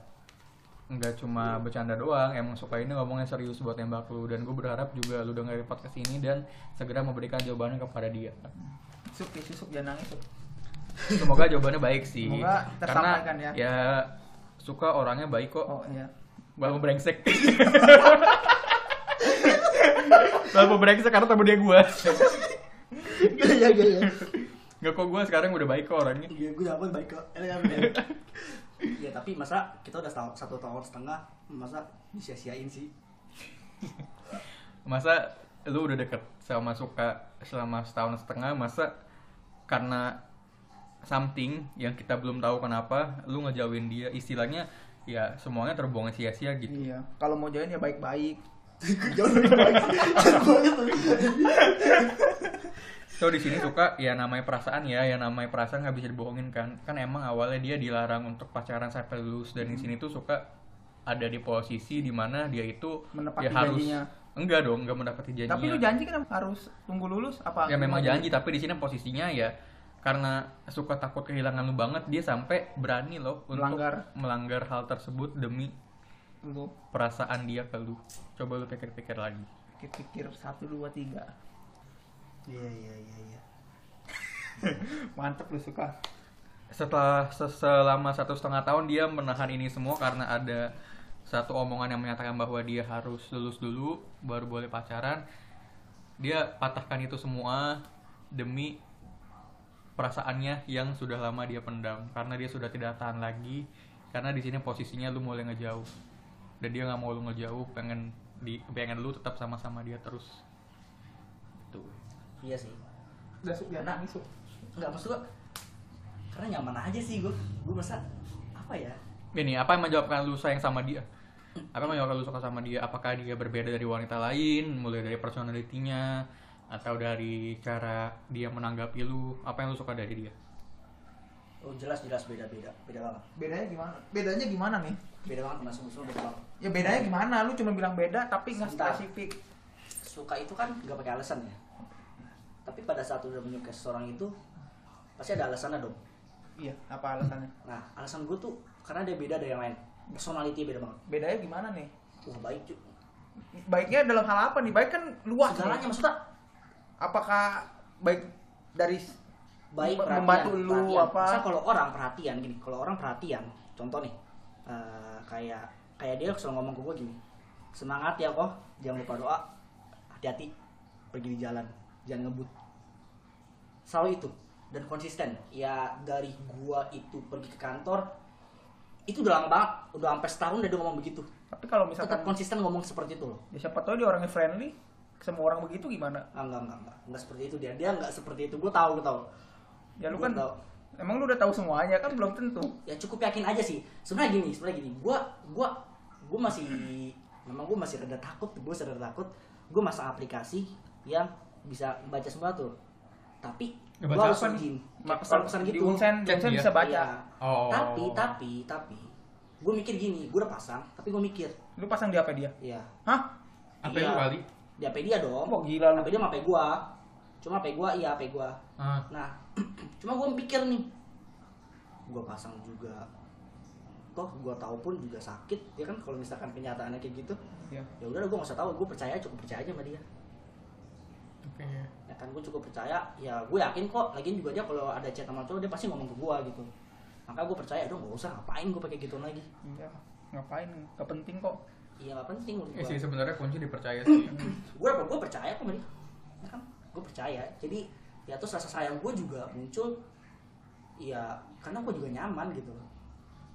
nggak cuma bercanda doang emang suka ini ngomongnya serius buat tembak lu dan gue berharap juga lu dengerin podcast ini dan segera memberikan jawabannya kepada dia Suk, ya, susuk jangan nangis. Suk. semoga jawabannya baik sih Semoga tersampaikan karena ya. ya suka orangnya baik kok Oh iya. Walaupun brengsek. Walaupun brengsek karena temen dia gue. Iya, iya, iya. Gak kok gue sekarang udah baik kok orangnya. Iya, gue dapat baik kok. Elegan. Iya, tapi masa kita udah setahun- satu tahun setengah, masa disia-siain sih? Masa lu udah deket sama suka selama setahun setengah, masa karena something yang kita belum tahu kenapa, lu ngejauhin dia. Istilahnya ya semuanya terbuang sia-sia gitu. Iya. Kalau mau join ya baik-baik. Jauh lebih baik. Jauh banget tuh. So di sini suka ya namanya perasaan ya, yang namanya perasaan nggak bisa dibohongin kan. Kan emang awalnya dia dilarang untuk pacaran sampai lulus dan Hmm. di sini tuh suka ada di posisi dimana dia itu Menepati ya harus janjinya. enggak dong, nggak mendapati janjinya. Tapi lu janji kan harus tunggu lulus apa? ya memang gimana? janji, tapi di sini posisinya ya karena suka takut kehilangan lu banget dia sampai berani loh untuk Melanggar. melanggar hal tersebut demi Lu perasaan dia ke lu. Coba lu pikir-pikir lagi. pikir-pikir satu dua tiga. Iya, iya, iya, iya. Mantep lu suka. setelah se- selama satu setengah tahun dia menahan ini semua karena ada satu omongan yang menyatakan bahwa dia harus lulus dulu baru boleh pacaran dia patahkan itu semua demi perasaannya yang sudah lama dia pendam karena dia sudah tidak tahan lagi karena di sini posisinya lu mulai ngejauh dan dia nggak mau lu ngejauh pengen di pengen lu tetap sama-sama dia terus tuh Iya sih. Udah suk jangan nangis suk. Enggak maksud gue karena nyaman aja sih gue. Gue masa apa ya? Ini apa yang menjawabkan lu sayang sama dia? Apa yang menjawabkan lu suka sama dia? Apakah dia berbeda dari wanita lain? Mulai dari personalitinya atau dari cara dia menanggapi lu? Apa yang lu suka dari dia? Oh jelas jelas beda beda beda banget. Bedanya gimana? Bedanya gimana nih? Beda banget sama semua semua beda banget. Ya bedanya gimana? Lu cuma bilang beda tapi nggak Sebentar. spesifik. Suka itu kan nggak pakai alasan ya. Tapi pada saat udah menyukai seseorang itu pasti ada alasannya dong. Iya. Apa alasannya? Nah alasan gue tuh karena dia beda dari yang lain. Personality beda banget. Bedanya gimana nih? Wah baik cuy. Baiknya dalam hal apa nih? Baik kan luas. Segalanya nih. maksudnya Apakah baik dari baik Mem- perhatian, membantu lu, perhatian. apa? Misal kalau orang perhatian gini kalau orang perhatian contoh nih eh, kayak kayak dia selalu ngomong ke gue gini semangat ya kok jangan lupa doa hati-hati pergi di jalan jangan ngebut selalu itu dan konsisten ya dari gua itu pergi ke kantor itu udah lama banget udah sampai setahun dia udah ngomong begitu tapi kalau tetap misalkan konsisten ngomong seperti itu loh ya siapa tahu dia orangnya friendly semua orang begitu gimana ah, enggak enggak enggak enggak seperti itu dia dia enggak seperti itu gue tahu gue tahu ya lu Gua kan tahu. emang lu udah tahu semuanya kan belum tentu ya cukup yakin aja sih sebenarnya gini sebenarnya gini gue gua gua masih memang gue masih rada takut gue rada takut gue masang aplikasi yang bisa baca semua tuh tapi gue Ngebaca harus Ya, apa nih? izin Ma- kayak pesan-pesan di gitu Unsen, di Cek Unsen dia. bisa baca Iya. Oh. tapi tapi tapi gue mikir gini gue udah pasang tapi gue mikir lu pasang di apa dia ya hah Apa Iya. lu kali? di HP dia dong Wah, gila lu. HP dia sama HP gue cuma HP gue iya HP gue Ah, Nah, cuma gue mikir nih, gue pasang juga. Toh gue tahu pun juga sakit, ya kan kalau misalkan kenyataannya kayak gitu, ya. ya udah gue nggak usah tahu, gue percaya cukup percaya aja sama dia. oke. Ya kan gue cukup percaya, ya gue yakin kok. Lagian juga dia kalau ada chat sama cowok dia pasti ngomong ke gue gitu. Maka gue percaya, dong gak usah ngapain gue pakai gitu lagi. iya ngapain nggak penting kok iya nggak penting menurut Iya gua sih sebenarnya kunci dipercaya sih. gue apa gue percaya kok sama dia Ya kan gue percaya jadi ya terus rasa sayang gue juga muncul ya karena gue juga nyaman gitu loh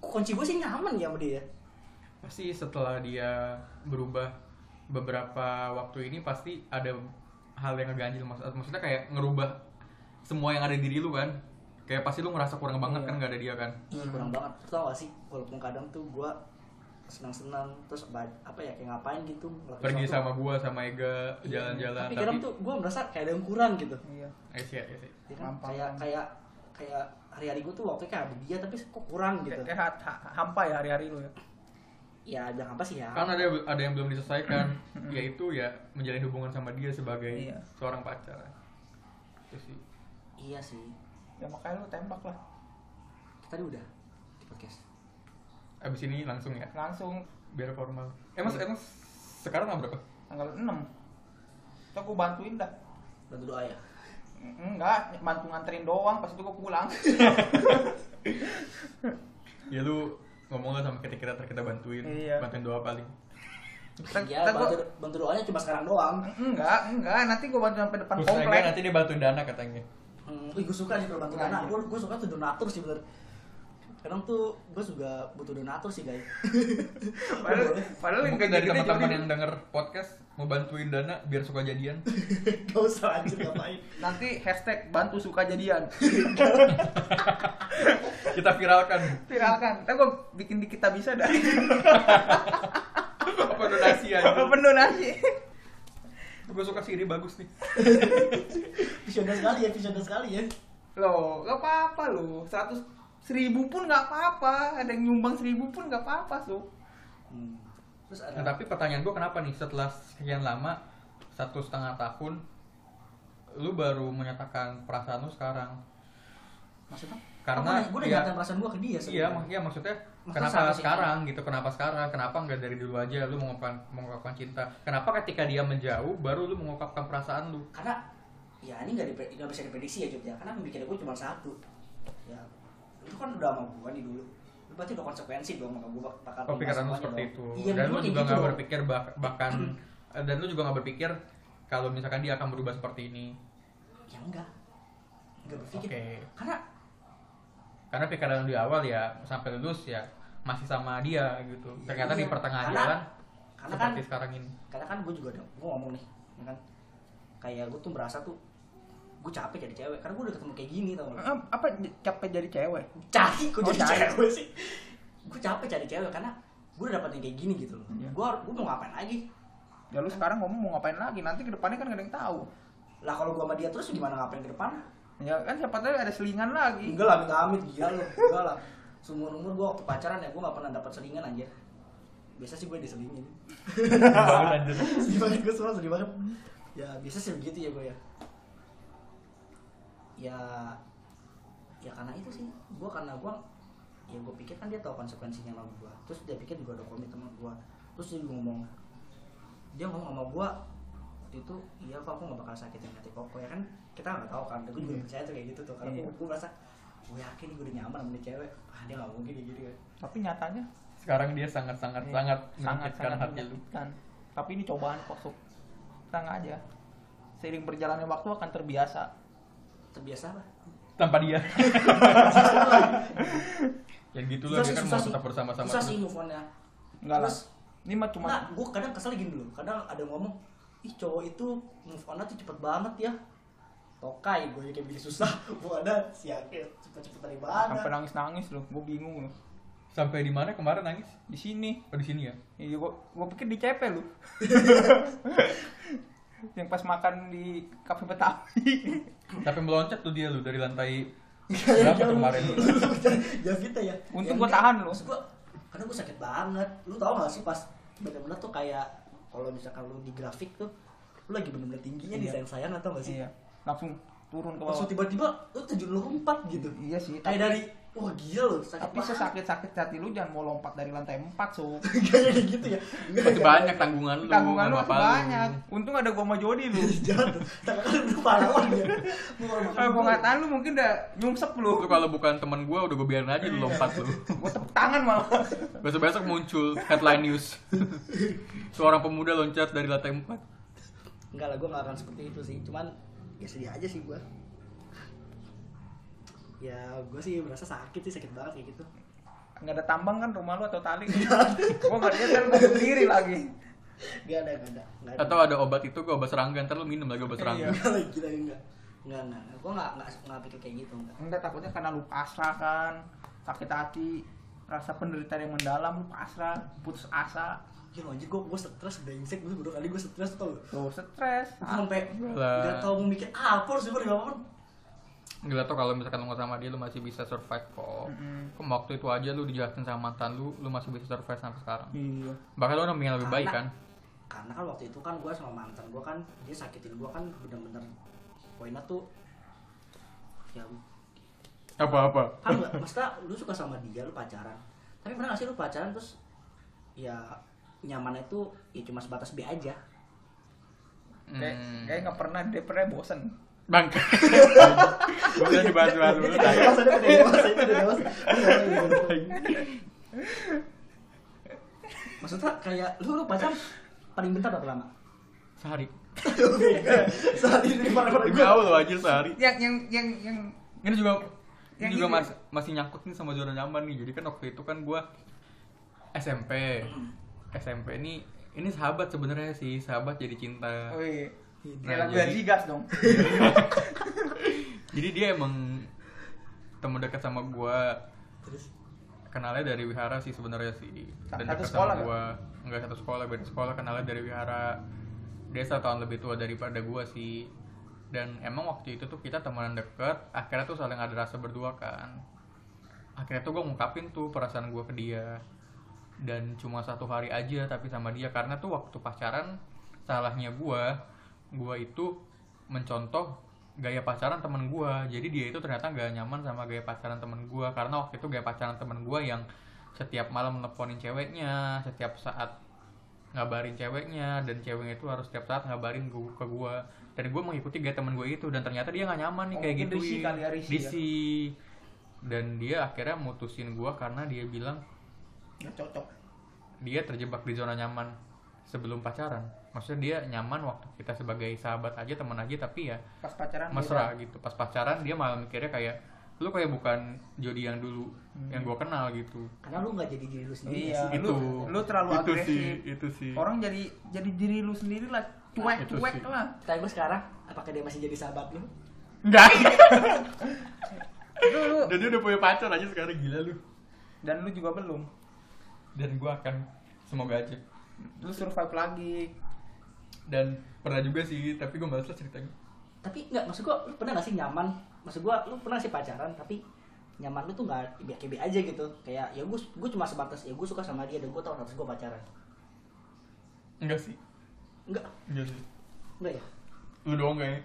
kunci gue sih nyaman ya sama dia pasti setelah dia berubah beberapa waktu ini pasti ada hal yang ngeganjil Maksud- maksudnya kayak ngerubah semua yang ada di diri lu kan kayak pasti lu ngerasa kurang banget Iya. kan nggak ada dia kan Ih, kurang banget tau gak sih walaupun kadang tuh gue senang-senang terus ba- apa ya kayak ngapain gitu ngelakuin pergi sesuatu. sama gua sama Ega Iya, jalan-jalan tapi, kadang tapi, tuh gue merasa kayak ada yang kurang gitu Iya. Eh, sih, eh, sih. ya kan? Gampang. kayak kayak kayak hari-hari gue tuh waktu kayak ada dia tapi kok kurang gitu Kayak kayak ha- ha- hampa ya hari-hari lu ya. ya bilang apa sih ya kan ada ada yang belum diselesaikan yaitu ya menjalin hubungan sama dia sebagai Iya. seorang pacar itu sih iya sih Ya makanya lu tembak lah. tadi udah di podcast abis ini langsung ya Langsung biar formal emang emang sekarang nggak berapa tanggal 6. Tuh gue bantuin dah. bantu doa ya Enggak, bantu nganterin doang, pas itu gue pulang. ya lu ngomong lah sama kita kita kita bantuin Iya. bantuin doa paling Iya, bantu, bantu doanya cuma sekarang doang. enggak, enggak, nanti gue bantu sampai depan Terus Kan komplek. Ega nanti dia bantuin dana katanya Hmm, ih, gue suka sih kalau bantu Nah, dana. iya. Gue gue suka tuh donatur sih bener. Kadang tuh gue juga butuh donatur sih guys. Padahal padahal yang mungkin kayak dari gitu teman-teman yang yang denger podcast mau bantuin dana biar suka jadian Gak usah anjir ngapain. Nanti hashtag bantu suka jadian. kita viralkan Viralkan. Ntar gue bikin di kita bisa dah. apa donasi aja Pendonasi. gue suka sih ini bagus nih Visioner sekali ya, visioner sekali ya. Loh, gak apa-apa loh. 100 seribu pun gak apa-apa. Ada yang nyumbang seribu pun gak apa-apa, so. Hmm. Terus nah, ada tapi pertanyaan gue kenapa nih setelah sekian lama satu setengah tahun lu baru menyatakan perasaan lu sekarang Maksudnya? karena gue udah ya- nyatain perasaan gue ke dia Iya, sebenarnya. mak iya maksudnya Maksudnya kenapa sama sih. sekarang gitu? Kenapa sekarang? Kenapa nggak dari dulu aja lu mengungkapkan mengungkapkan cinta? Kenapa ketika dia menjauh baru lu mengungkapkan perasaan lu? Karena ya ini gak, dipe- nggak bisa diprediksi ya Jogja. Karena pemikiran gue cuma satu. Ya, itu kan udah sama gue nih dulu. Lu berarti udah konsekuensi dong sama gue bakal terima Oh, Pikiran lu semuanya seperti dong. itu. Iya, dan dulu lu juga kayak gitu Hmm. nggak dong. berpikir bah- bahkan eh, dan lu juga nggak berpikir kalau misalkan dia akan berubah seperti ini. Ya enggak. Enggak berpikir. Oke. Karena Karena pikiran lu di awal ya sampai lulus ya masih sama dia gitu. Ternyata di Iya. pertengahan Karena- jalan karena kan seperti sekarang ini. karena kan gue juga ada gue ngomong nih ya kan kayak gue tuh merasa tuh gue capek jadi cewek karena gue udah ketemu kayak gini tau gak Eh, Apa j- capek jadi cewek? cari gue Oh, jadi cari. cewek sih gue capek cari cewek karena gue udah dapetin kayak gini gitu loh gue gue mau ngapain lagi Ya lu sekarang ngomong mau ngapain lagi? Nanti ke depannya kan gak ada yang tahu. lah kalau gue sama dia terus gimana ngapain ke depan Ya kan siapa tahu ada selingan lagi. enggak lah amit amit gila lo enggak lah seumur umur gue waktu pacaran ya gue gak pernah dapat selingan aja biasa sih gue diselingin sedih banget gue semua sedih banget ya biasa sih begitu ya gue ya ya ya karena itu sih gue karena gue ya gue pikir kan dia tahu konsekuensinya sama gue terus dia pikir gue udah komit sama gue terus dia ngomong dia ngomong sama gue waktu itu iya kok aku gak bakal sakitin hati koko ya kan kita nggak tahu kan gue juga percaya tuh kayak gitu tuh karena Iya. gue merasa gue yakin nih gue udah nyaman sama nih cewek ah dia gak mungkin kayak gitu kan Tapi nyatanya Sekarang dia Iya, sangat-sangat sangat sangat menyakitkan sangat hati lu. menyakitkan. Tapi ini cobaan kok, Sob. Tenang aja. Seiring berjalannya waktu akan terbiasa. terbiasa apa tanpa dia ya gitu lah Susah dia sih, kan susah mau sih. tetap bersama sama susah sih move on-nya Enggak lah. Terus- Ini mah cuma Nah, gue kadang kesel gini dulu. Kadang ada yang ngomong, ih cowok itu move on tuh cepet banget ya. Tokai, gue kayak bikin susah. Gue ada siapa cepet-cepet dari Nah, mana. sampai nangis-nangis loh. Gue bingung loh. sampai di mana kemarin nangis Di sini. oh di sini ya Iya, gua, gua pikir di CP lu. yang pas makan di kafe Betawi. sampai meloncat tuh dia lu dari lantai Iya, berapa tuh kemarin ya kita ya. Ya, Untung gua enggak. tahan loh. Maksud gua, kadang gue sakit banget. Lu tau gak sih pas bener-bener tuh kayak kalau misalkan lu di grafik tuh, lu lagi bener-bener tingginya Iya. di sayang-sayang atau gak sih? iya. Langsung turun ke bawah. Langsung tiba-tiba lu terjun lompat gitu. Iya sih. Kayak dari wah gila loh sakit Tapi banget. sesakit-sakit hati lu jangan mau lompat dari lantai 4, Su. Gak jadi gitu ya Nggak, Masih nggak. banyak tanggungan lu. Tanggungan lu sama masih bapak lu. Iya. banyak. Untung ada gua sama Jody lu. Jatuh Tangan lu udah pahlawan ya Mau makan Kalau dulu. gua nggak tahan lu mungkin udah nyungsep lu. Lu kalau bukan temen gue udah gue biarin aja lu lompat lu. Gua tepuk tangan malah. Besok-besok muncul headline news. Seorang pemuda loncat dari lantai 4. Enggak lah, gue gak akan seperti itu sih. Cuman ya sedih aja sih gue. Ya gue sih merasa sakit sih, sakit banget kayak gitu. Enggak ada tambang kan rumah lu atau tali? Iya. gua enggak lihat kan gua sendiri lagi. Gak ada, gak ada. Gak ada. Atau ada obat itu gue obat serangga, ntar lu minum lagi obat serangga. Enggak lagi, kita enggak. Enggak, enggak. Gue gak, gak, gak pikir kayak gitu, enggak. Enggak takutnya karena lu pasrah kan. Sakit hati, rasa penderitaan yang mendalam, lu pasrah, putus asa, Ya lo anjir, gue gue stres, brengsek. Gue baru kali gue stres tau gak? lu stres. Gua Sampai Lah. gak tau mau mikir "Ah, apa, harus gue apa Gila tuh kalau misalkan lu gak sama dia lu masih bisa survive kok. Mm-mm. Kok waktu itu aja lu dijelasin sama mantan lu, lu masih bisa survive sampai sekarang. Iya. Bahkan lu udah yang lebih baik kan. Karena kan waktu itu kan gue sama mantan gue kan, dia sakitin gue kan bener-bener poinnya tuh ya Apa-apa. paham nggak Ah, maksudnya lu suka sama dia lu pacaran tapi pernah gak sih lu pacaran terus ya nyamannya tuh ya cuma sebatas B aja Kayak Hmm. kayak enggak pernah dia pernah bosen. Bang. Udah dibahas-bahas dulu. Iya. Udah dewasa, udah dewasa, udah dewasa. Udah, udah, udah. maksudnya kayak lu lu pacaran paling bentar berapa lama Sehari. saat ini pada Demi Allah aja sehari. Yang yang yang yang ini juga Yang ini juga ini. mas- masih nyangkut nih sama zona nyaman nih jadi kan waktu itu kan gua SMP SMP ini ini sahabat sebenarnya sih sahabat jadi cinta Wih. Iya. Nah, Kayak lagu jadi- Andy iya. Gas dong. jadi dia emang temen dekat sama gua terus kenalnya dari wihara sih sebenarnya sih Sa- satu dekat sama sekolah nggak? gua enggak satu sekolah beda sekolah kenalnya dari wihara dia satu tahun lebih tua daripada gua sih dan emang waktu itu tuh kita temenan deket akhirnya tuh saling ada rasa berdua kan akhirnya tuh gua ngungkapin tuh perasaan gua ke dia dan cuma satu hari aja tapi sama dia karena tuh waktu pacaran salahnya gua gua itu mencontoh gaya pacaran temen gua jadi dia itu ternyata nggak nyaman sama gaya pacaran temen gua karena waktu itu gaya pacaran temen gua yang setiap malam nelponin ceweknya setiap saat ngabarin ceweknya dan ceweknya itu harus setiap saat ngabarin gu- ke gua dan gua mengikuti gaya temen gue itu dan ternyata dia nggak nyaman nih Oh, kayak mungkin gitu risih kali ya, risih ya. Risih. dan dia akhirnya mutusin gua karena dia bilang Nggak cocok. dia terjebak di zona nyaman sebelum pacaran maksudnya dia nyaman waktu kita sebagai sahabat aja teman aja tapi ya Pas pacaran mesra gitu pas pacaran dia malah mikirnya kayak lu kayak bukan Jody yang dulu yang gua kenal gitu karena lu nggak jadi diri lu sendiri Iya, Itu. Hmm. lu, lu terlalu Itu agresif. sih, itu sih. Orang jadi jadi diri lu sendiri lah, cuek Hmm. Itu cuek sih. lah. tapi gue sekarang apakah dia masih jadi sahabat lu enggak Itu lu dan dia udah punya pacar aja sekarang gila lu dan lu juga belum. dan gua akan semoga aja Lu survive lagi. dan pernah juga sih tapi gua balas lah ceritanya tapi nggak maksud gua lu pernah gak sih nyaman maksud gua lu pernah sih pacaran tapi nyaman lu tuh nggak biar kebe aja gitu kayak ya gua gua cuma sebatas ya gua suka sama dia dan gua tahu harus gua pacaran enggak sih enggak enggak sih enggak ya lu doang kayaknya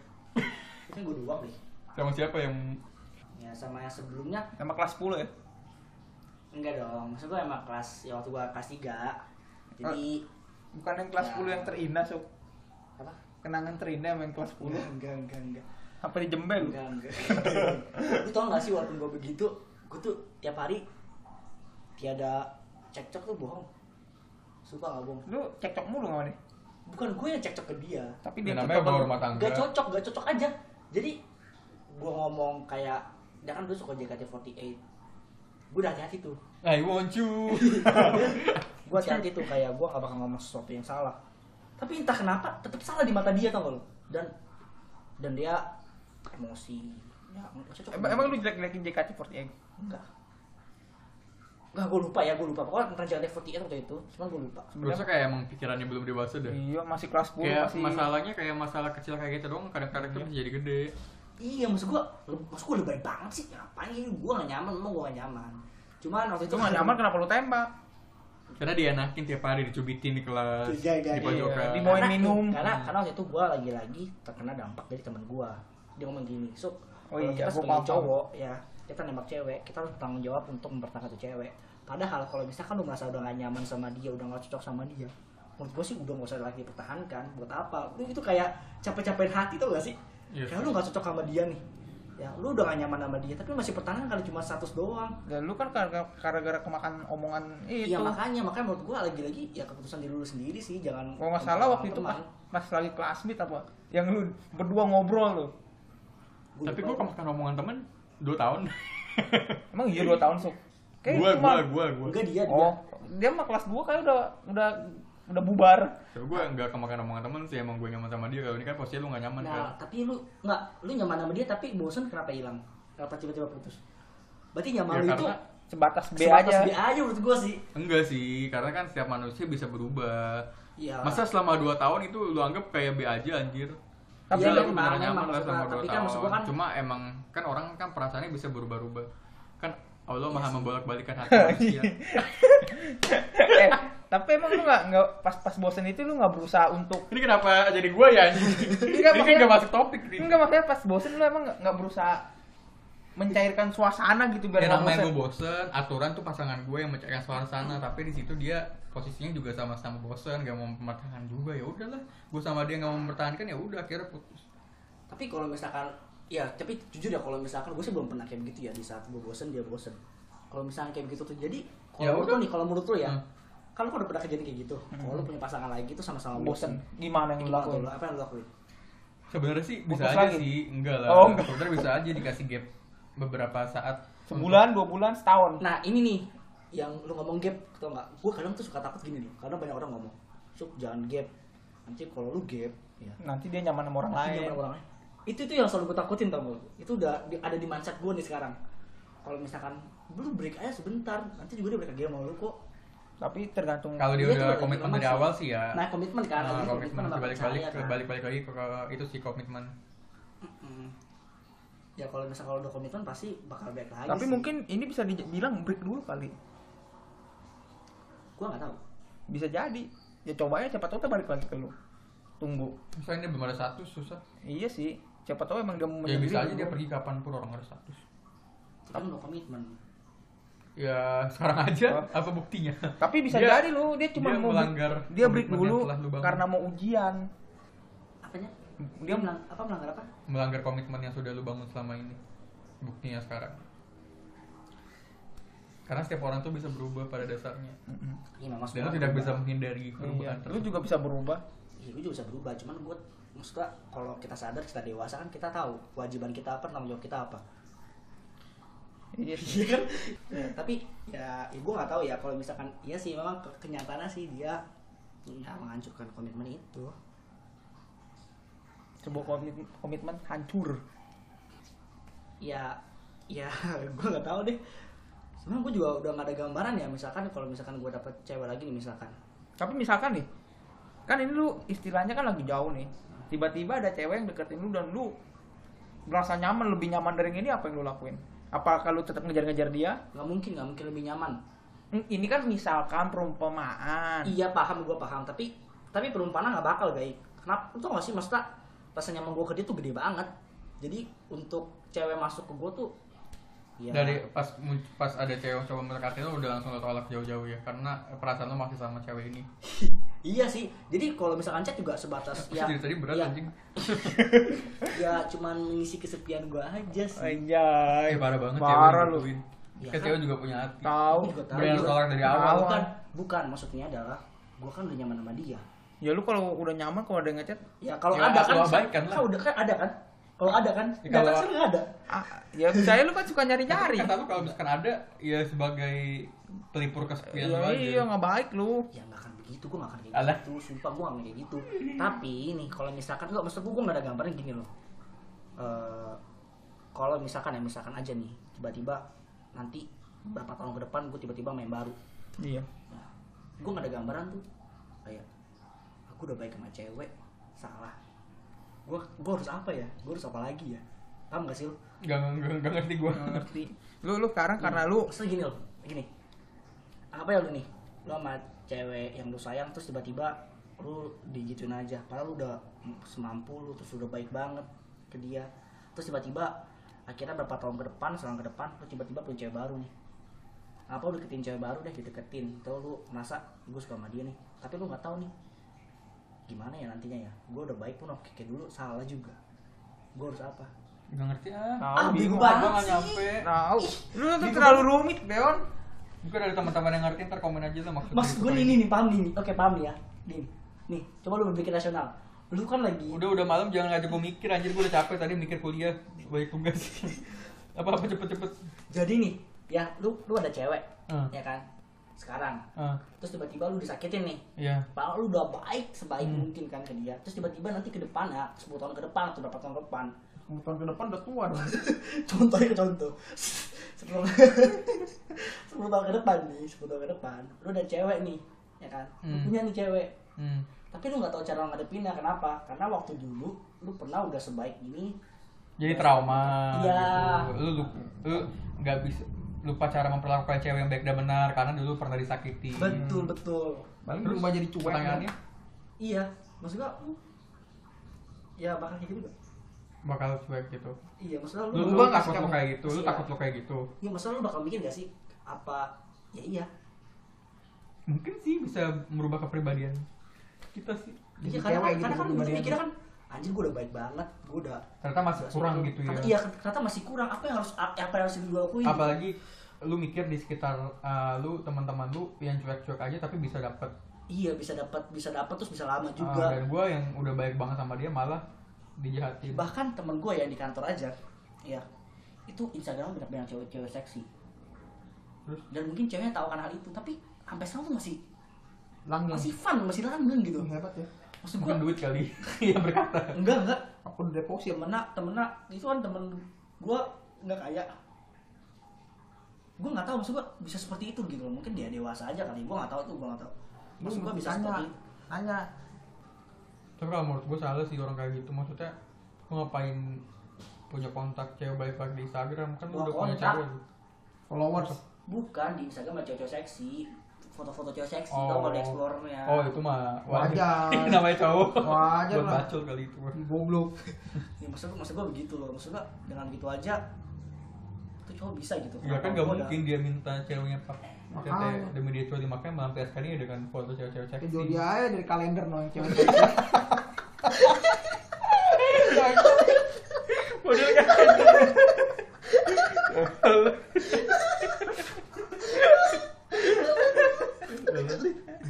itu gua doang deh sama siapa yang ya sama yang sebelumnya Sama kelas 10 ya. enggak dong maksud gua emang kelas ya waktu gua kelas 3 jadi Bukan yang kelas Ya. 10 yang terindah, Sob. Ah, apa Kenangan terindah sama yang kelas 10. enggak enggak enggak Sampai dijembel. enggak enggak lu tau gak sih walaupun gua begitu gua tuh tiap hari tiada cekcok tuh bohong suka gak bohong Lu cekcok mulu sama dia. bukan gue yang cekcok ke dia Tapi Ya, dia namanya cekcok bawa sama- rumah tangga gak cocok gak cocok aja jadi gue ngomong kayak dia kan dulu suka JKT48 gue udah hati-hati tuh I want Nah, you gue hati-hati tuh kayak gue gak bakal ngomong sesuatu yang salah tapi entah kenapa tetap salah di mata dia tau gak lo dan dan dia emosi ya nggak cocok Emang, emang lu jelek-jelekin JKT48? enggak Enggak, gue lupa ya, gue lupa. Pokoknya tentang JKT48 waktu itu, cuman gue lupa. Sebenarnya kayak emang pikirannya belum dewasa deh. Iya, masih kelas 10 Kayak masih. masalahnya kayak masalah kecil kayak gitu doang kadang-kadang tuh bisa jadi gede. Iya, maksud gue, maksud gue lebay banget sih. Ngapain ini? Gue gak nyaman, emang gue gak nyaman. Cuman waktu Itu itu... nggak nyaman kenapa lu tembak? Karena dianakin tiap hari dicubitin di kan? kelas, Iya, iya, di pojokan. iya. Di bawah- Bawain Karena- minum. karena karena waktu itu gue lagi-lagi terkena dampak dari teman gue dia ngomong gini so kalau Oh iya, kita gua sebagai paham. cowok ya kita kita nembak cewek kita harus bertanggung jawab untuk mempertahankan tuh cewek padahal kalau misalkan lu merasa udah gak nyaman sama dia udah gak cocok sama dia menurut gue sih udah gak usah lagi dipertahankan buat apa lu itu kayak capek-capekin hati tau gak sih Iya. kayak lu gak cocok sama dia nih ya lu udah gak nyaman sama dia tapi masih pertahankan kalau cuma status doang Dan lu kan gara- gara-gara kemakan omongan itu. Iya makanya, makanya menurut gua lagi-lagi ya keputusan diri lu sendiri sih, jangan Kalau nggak salah waktu itu teman. pas, pas lagi kelas meet apa, yang lu berdua ngobrol lu. Gua Tapi lupa. gue kemakan omongan temen 2 tahun. Emang iya dua tahun sok. Kayak Gue, gue, itu mah- gue, gue. enggak dia dia. Oh, dia mah kelas 2 kayak udah udah udah bubar. Gue enggak kemakan omongan temen sih, emang gue nyaman sama dia. Kalau ini kan posisinya lu gak nyaman kan. Nah, tapi lu enggak lu nyaman sama dia tapi bosen kenapa hilang? Kenapa tiba-tiba putus? Berarti nyaman Ya, lu itu karena- Sebatas B sebatas aja. B aja menurut gua sih. Enggak sih, karena kan setiap manusia bisa berubah. Iya. Masa selama 2 tahun itu lu anggap kayak B aja anjir? Tapi Iya, Iya, lu emang, beneran nyaman emang, lah maksud selama gua- 2 tapi kan tahun. maksud gua kan- Cuma emang kan orang kan perasaannya bisa berubah-ubah. Kan Allah Iya maha membolak-balikan hati manusia. eh, tapi emang lu nggak nggak pas pas bosen itu lu nggak berusaha untuk Ini kenapa jadi gue ya? anjing? Enggak, ini kan maksudnya- gak masuk topik nih. enggak maksudnya pas bosen lu emang nggak- nggak berusaha mencairkan suasana gitu biar Ya nggak namanya bosen. gue bosen, aturan tuh pasangan gue yang mencairkan suasana, tapi di situ dia posisinya juga sama-sama bosen, gak mau mempertahankan juga ya udahlah. Gue sama dia gak mau mempertahankan ya udah akhirnya putus. Tapi kalau misalkan ya, tapi jujur ya kalau misalkan gua sih belum pernah kayak begitu ya di saat gua bosen dia bosen. Kalau misalkan kayak begitu tuh jadi kalau Ya menurut udah. lu nih, kalau menurut lu ya, Hmm. kalau lu udah pernah kejadian kayak gitu, kalau lu punya pasangan lagi itu sama-sama bosen bosen. gimana yang lu Gimana tuh lakuin lu? Apa yang lu lakuin? Sebenarnya sih bisa Putus aja lagi? sih, enggak lah. Oh, enggak. Sebenarnya bisa aja dikasih gap beberapa saat. sebulan dua bulan setahun Nah ini nih yang lu ngomong gap tau nggak? Gue kadang tuh suka takut gini nih, karena banyak orang ngomong, sok jangan gap. Nanti kalau lu gap, ya, nanti dia nyaman sama orang nanti lain nyaman orang lain. Itu tuh yang selalu gue takutin tau nggak? Itu udah di- ada di mindset gue nih sekarang. Kalau misalkan lu break aja sebentar, nanti juga dia break lagi sama lu kok. tapi tergantung Kalau dia Iya, itu udah berarti komitmen memang dari sih. awal sih ya. Nah komitmen kan, Nah, lagi komitmen sama balik-balik percaya, kan. balik-balik lagi ke, ke- itu sih komitmen. Mm-mm. Ya kalau misalkan kalau udah komitmen pasti bakal break lagi. tapi sih. mungkin ini bisa dibilang break dulu kali gue nggak tahu. bisa jadi ya coba aja cepat tahu dia balik lagi ke lu tunggu Misalnya dia belum ada status susah. iya sih siapa tahu emang dia mau Ya bisa menyendiri aja dia dulu. pergi kapan pun orang ada status. Tapi kan udah komitmen. Ya sekarang aja apa buktinya? tapi bisa Dia- jadi lu dia cuma dia mau melanggar dia break komitmen yang dulu telah lu bangun. karena mau ujian Apanya? Dia- Dia melang, apa melanggar apa? Melanggar komitmen yang sudah lu bangun selama ini. Buktinya sekarang. Karena setiap orang tuh bisa berubah pada dasarnya. Mm-mm. Iya, memang Dan lu semua tidak berubah. bisa menghindari Iya. perubahan lu tersebut. juga bisa berubah Iya, gue juga bisa berubah. Cuman gue maksudnya kalau kita sadar, kita dewasa kan kita tahu kewajiban kita apa, tanggung jawab kita apa. iya sih. Iya kan? Tapi ya, ya gue nggak tahu ya kalau misalkan iya sih memang ke- kenyataannya sih dia ya, menghancurkan komitmen itu. sebuah komit- komitmen hancur Ya, ya gue nggak tahu deh. Sebenarnya gue juga udah nggak ada gambaran ya misalkan kalau misalkan gue dapet cewek lagi nih misalkan. tapi misalkan nih kan ini lu istilahnya kan lagi jauh nih tiba-tiba ada cewek yang deketin lu dan lu merasa nyaman lebih nyaman dari yang ini apa yang lu lakuin apakah lu tetap ngejar-ngejar dia Nggak mungkin, nggak mungkin lebih nyaman. Hmm, ini kan Kan. misalkan perumpamaan Iya paham, gue paham. Tapi tapi perumpamaan nggak bakal baik. Kenapa? Lu tau gak sih maksudnya rasa nyaman gue ke dia tuh gede banget. Jadi untuk cewek masuk ke gue tuh ya, Dari pas mun- pas ada cewek coba mendekatin lu udah langsung lu tolak jauh-jauh ya karena perasaan lu masih sama cewek ini. Iya sih. Jadi kalau misalkan chat juga sebatas Ya. ya Jadi tadi berat ya, anjing. ya cuman mengisi kesepian gue aja sih. Eh Anjay, parah banget parah cewek lu. digituin. Ya Kan kan? cewek juga punya hati. Tahu. Gua juga tahu. Dia harus tolak dari awal. Bukan, bukan maksudnya adalah gue kan udah nyaman sama dia. Ya lu kalau udah nyaman kalau ada yang ngechat, Ya kalau Ya, ada harus kan, lu abaikan lah. kan udah kan ada kan. Kalau ada kan, Ya, data kalau- kan nggak ada. ah, ya saya lu kan suka Tapi nyari-nyari. kata lu kalau misalkan ada ya sebagai pelipur kesepian lu Iya, aja. iya nggak baik lu. ya nggak akan begitu gue nggak akan kayak Alah. gitu sumpah gue nggak akan kayak gitu tapi nih kalau misalkan nggak maksud gue gue nggak ada gambaran gini loh Eh, kalau misalkan ya misalkan aja nih tiba-tiba nanti berapa tahun ke depan gue tiba-tiba main baru Iya. nah, gue nggak ada gambaran tuh kayak aku udah baik sama cewek salah gue gue harus apa ya gue harus apa lagi ya paham gak sih lo Gak, gak, gak ngerti gua. Nggak Nah. ngerti. Iya. Lu lu sekarang karena lu Oh, maksudnya gini loh gini apa ya lu nih lu sama cewek yang lu sayang terus tiba-tiba lu digituin aja padahal lu udah semampu lu terus udah baik banget ke dia terus tiba-tiba akhirnya berapa tahun ke depan selang ke depan lu tiba-tiba punya cewek baru nih apa lu deketin cewek baru deh dideketin terus lu merasa gue suka sama dia nih tapi lu nggak tahu nih gimana ya nantinya ya gue udah baik pun oke kayak dulu salah juga gue harus apa Gak ngerti ah. Tahu ah bingung bingung. Gua banget gak sih nyampe. Tahu. Lu tuh terlalu rumit, Deon. Gue dari teman-teman yang ngerti ntar komen aja Gitu. tuh maksud maksud gue nih nih nih paham nih nih. oke paham nih ya nih nih. nih coba lu berpikir rasional lu kan lagi Udah udah malam jangan ngajak gue mikir anjir gue udah capek tadi mikir kuliah banyak tugas. apa apa cepet-cepet. jadi nih ya lu lu ada cewek Hmm. ya kan sekarang Ah, terus tiba-tiba lu disakitin nih iya. Padahal lu udah baik sebaik Hmm. mungkin kan ke dia terus tiba-tiba nanti ke depan ya 10 tahun ke depan atau berapa tahun ke depan tahun ke depan udah tua dong. contohnya contoh sebelum sebelum tahun ke depan nih 10 tahun ke depan lu udah cewek nih ya kan lu Hmm. punya nih cewek Hmm. tapi lu nggak tahu cara ngadepinnya kenapa karena waktu dulu lu pernah udah sebaik ini Jadi trauma. Iya. gitu. Lu lu lu nggak bisa lupa cara memperlakukan cewek yang baik dan benar karena dulu pernah disakiti. betul betul Paling Terus berubah jadi cuek. Pertanyaannya iya maksud gua lu- ya bakal kayak gitu nggak? bakal cuek gitu. iya maksudnya Lu, lu, Gua nggak takut suka lu sama- kayak gitu, lu Iya. takut lu kayak gitu. iya maksudnya lu bakal mikir gak sih apa ya iya Mungkin sih bisa merubah kepribadian kita sih. Jadi Iya karena cewek kan, gitu karena kan kepribadian. mikirnya kan anjir gue udah baik banget, gue udah Ternyata masih kurang gitu ya. Karena, iya, ternyata masih kurang. Apa yang harus apa yang harus gue lakuin? Apalagi lu mikir di sekitar uh, lu teman-teman lu yang cuek-cuek aja tapi bisa dapet Iya bisa dapat bisa dapat terus bisa Uh, lama juga. dan gua yang udah baik banget sama dia malah dijahatin. Bahkan temen gue yang di kantor aja, ya itu Instagram benar-benar cewek-cewek seksi. Terus? Dan mungkin ceweknya tahu akan hal itu, tapi sampai sekarang tuh masih Langgeng. masih fun, masih langgeng gitu. Hebat ya. Maksud gue Bukan duit kali yang berkata. enggak enggak Aku udah Oh, deposit. temen temenak itu kan temen gue nggak kaya gue nggak tahu maksud gue bisa seperti itu gitu loh mungkin dia dewasa aja kali gue nggak tahu tuh gue nggak tahu maksud gue bisa tanya. seperti itu Tanya. Tapi kalau menurut gue salah sih orang kayak gitu. Maksudnya lu ngapain punya kontak cewek baik baik di Instagram kan Oh, lu Gua udah punya kontak. cewek. Followers. bukan di Instagram ada cowok-cowok seksi foto-foto cowok seksi Oh. tau kalau di explore-nya Oh itu mah Wajar. Namanya cowok. Wajar Buat lah. bacol kali itu. Goblok. ya, maksud gue maksud gue begitu loh maksud gue dengan gitu aja itu cowok bisa gitu Ya kan gak Gua udah- mungkin dia minta ceweknya pak. Makanya. Demi dia cowok dimakai melampiaskannya dengan kan foto cewek-cewek Ke seksi. Jody aja dari kalender no yang cewek. Model kan. Iya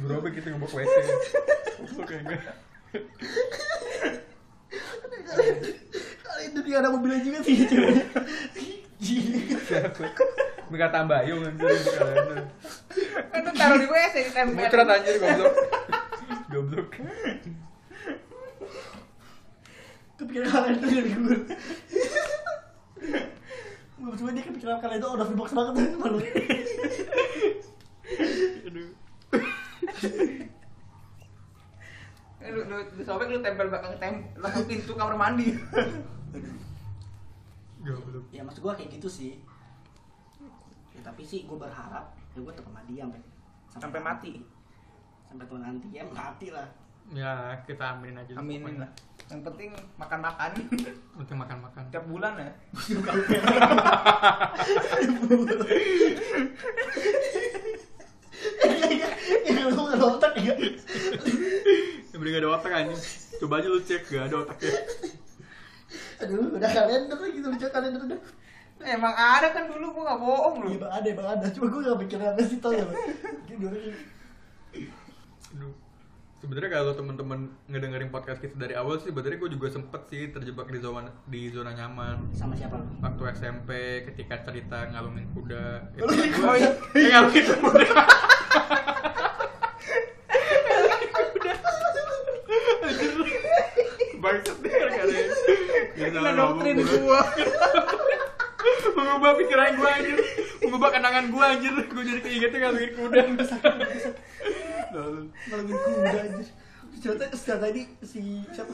Berapa kita kan? gitu, ngebok WC? Oke, gue. Kali itu dia ada mobilnya juga sih ceweknya Mereka tambah yuk anjir di kalender. Itu taruh di WC di tempel. Muncrat anjir goblok. Goblok. kepikiran hal itu dari gue gue cuma dia kepikiran kalian itu out of the box banget malu Eh, Lu lu disobek lu tempel belakang tem- belakang pintu kamar mandi. Goblok. ya maksud gue kayak gitu sih ya tapi sih gue berharap ya gue tetap sama dia sampai Sampai mati. sampai tua nanti ya mati lah Ya, kita aminin aja. Aminin lah. Yang penting makan-makan Untuk makan-makan. tiap bulan ya. ya lu nggak otak ya Yang penting Ya, gak ada otak anjing. Coba aja lu cek gak ada ya. otaknya. aduh udah kalian udah gitu lucu kalian udah Emang ada kan dulu gua gak bohong lu. Iya bang ada bang ada cuma gue gak pikiran apa sih tau ya bang Gini, orang ini. Aduh. Sebenarnya kalau teman-teman ngedengerin podcast kita dari awal sih, sebenarnya gue juga sempet sih terjebak di zona di zona nyaman. sama siapa lu Waktu SMP ketika cerita ngalungin kuda. Itu Ngalungin gua- kuda? Eh, ngalungin kuda. Bangsat deh kalian. Ya Kena doktrin mabuk gua. gua. Mengubah pikiran gue anjir. Mengubah kenangan gue anjir. Gue jadi keingetnya ngalungin kuda. Lalu. ngalungin kuda anjir ternyata setelah tadi si siapa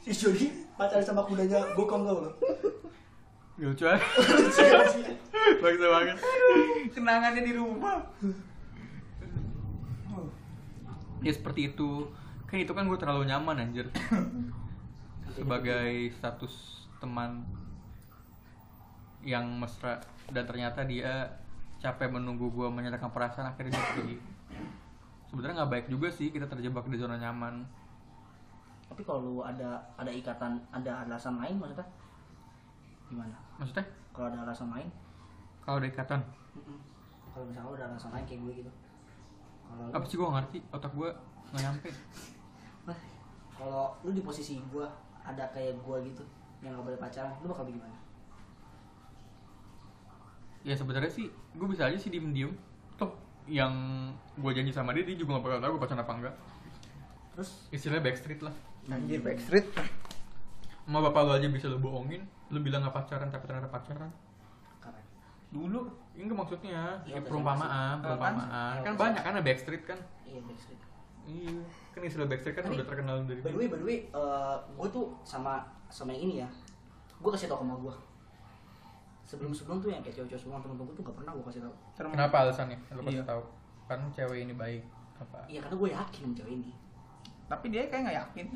si Jody pacaran sama kudanya gokong tau lo Ya, lucu aja. Bangsa banget. Kenangannya di rumah. Ya seperti itu. Kayak itu kan gue terlalu nyaman anjir. Sebagai status teman. yang mesra dan ternyata dia capek menunggu gue menyatakan perasaan akhirnya dia pergi sebenarnya nggak baik juga sih kita terjebak di zona nyaman tapi kalau lu ada ada ikatan ada alasan lain maksudnya gimana maksudnya kalau ada alasan lain kalau ada ikatan mm-mm. kalau misalnya lu ada alasan lain kayak gue gitu kalau lu- apa sih gue ngerti otak gue nggak nyampe Nah, kalau lu di posisi gue ada kayak gue gitu yang gak boleh pacaran lu bakal gimana ya sebenarnya sih gue bisa aja sih diem diem toh yang gue janji sama dia dia juga nggak bakal tahu gue pacaran apa enggak terus istilahnya backstreet lah Anjir backstreet. sama bapak lo aja bisa lo bohongin lo bilang nggak pacaran tapi ternyata pacaran keren dulu ini maksudnya ya, Iya, perumpamaan maksud- perumpamaan apaan sih? kan Iya, banyak kan ada backstreet kan iya backstreet iya kan istilah backstreet kan Tapi- udah terkenal dari by the way by the way gue tuh sama sama yang ini ya gue kasih tau ke mama gue sebelum sebelum tuh yang kayak cowok-cowok semua temen-temen gue tuh gak pernah gue kasih tau kenapa alasannya lo Iya. kasih tahu kan cewek ini baik apa iya karena gue yakin sama cowok ini Tapi dia kayak nggak yakin.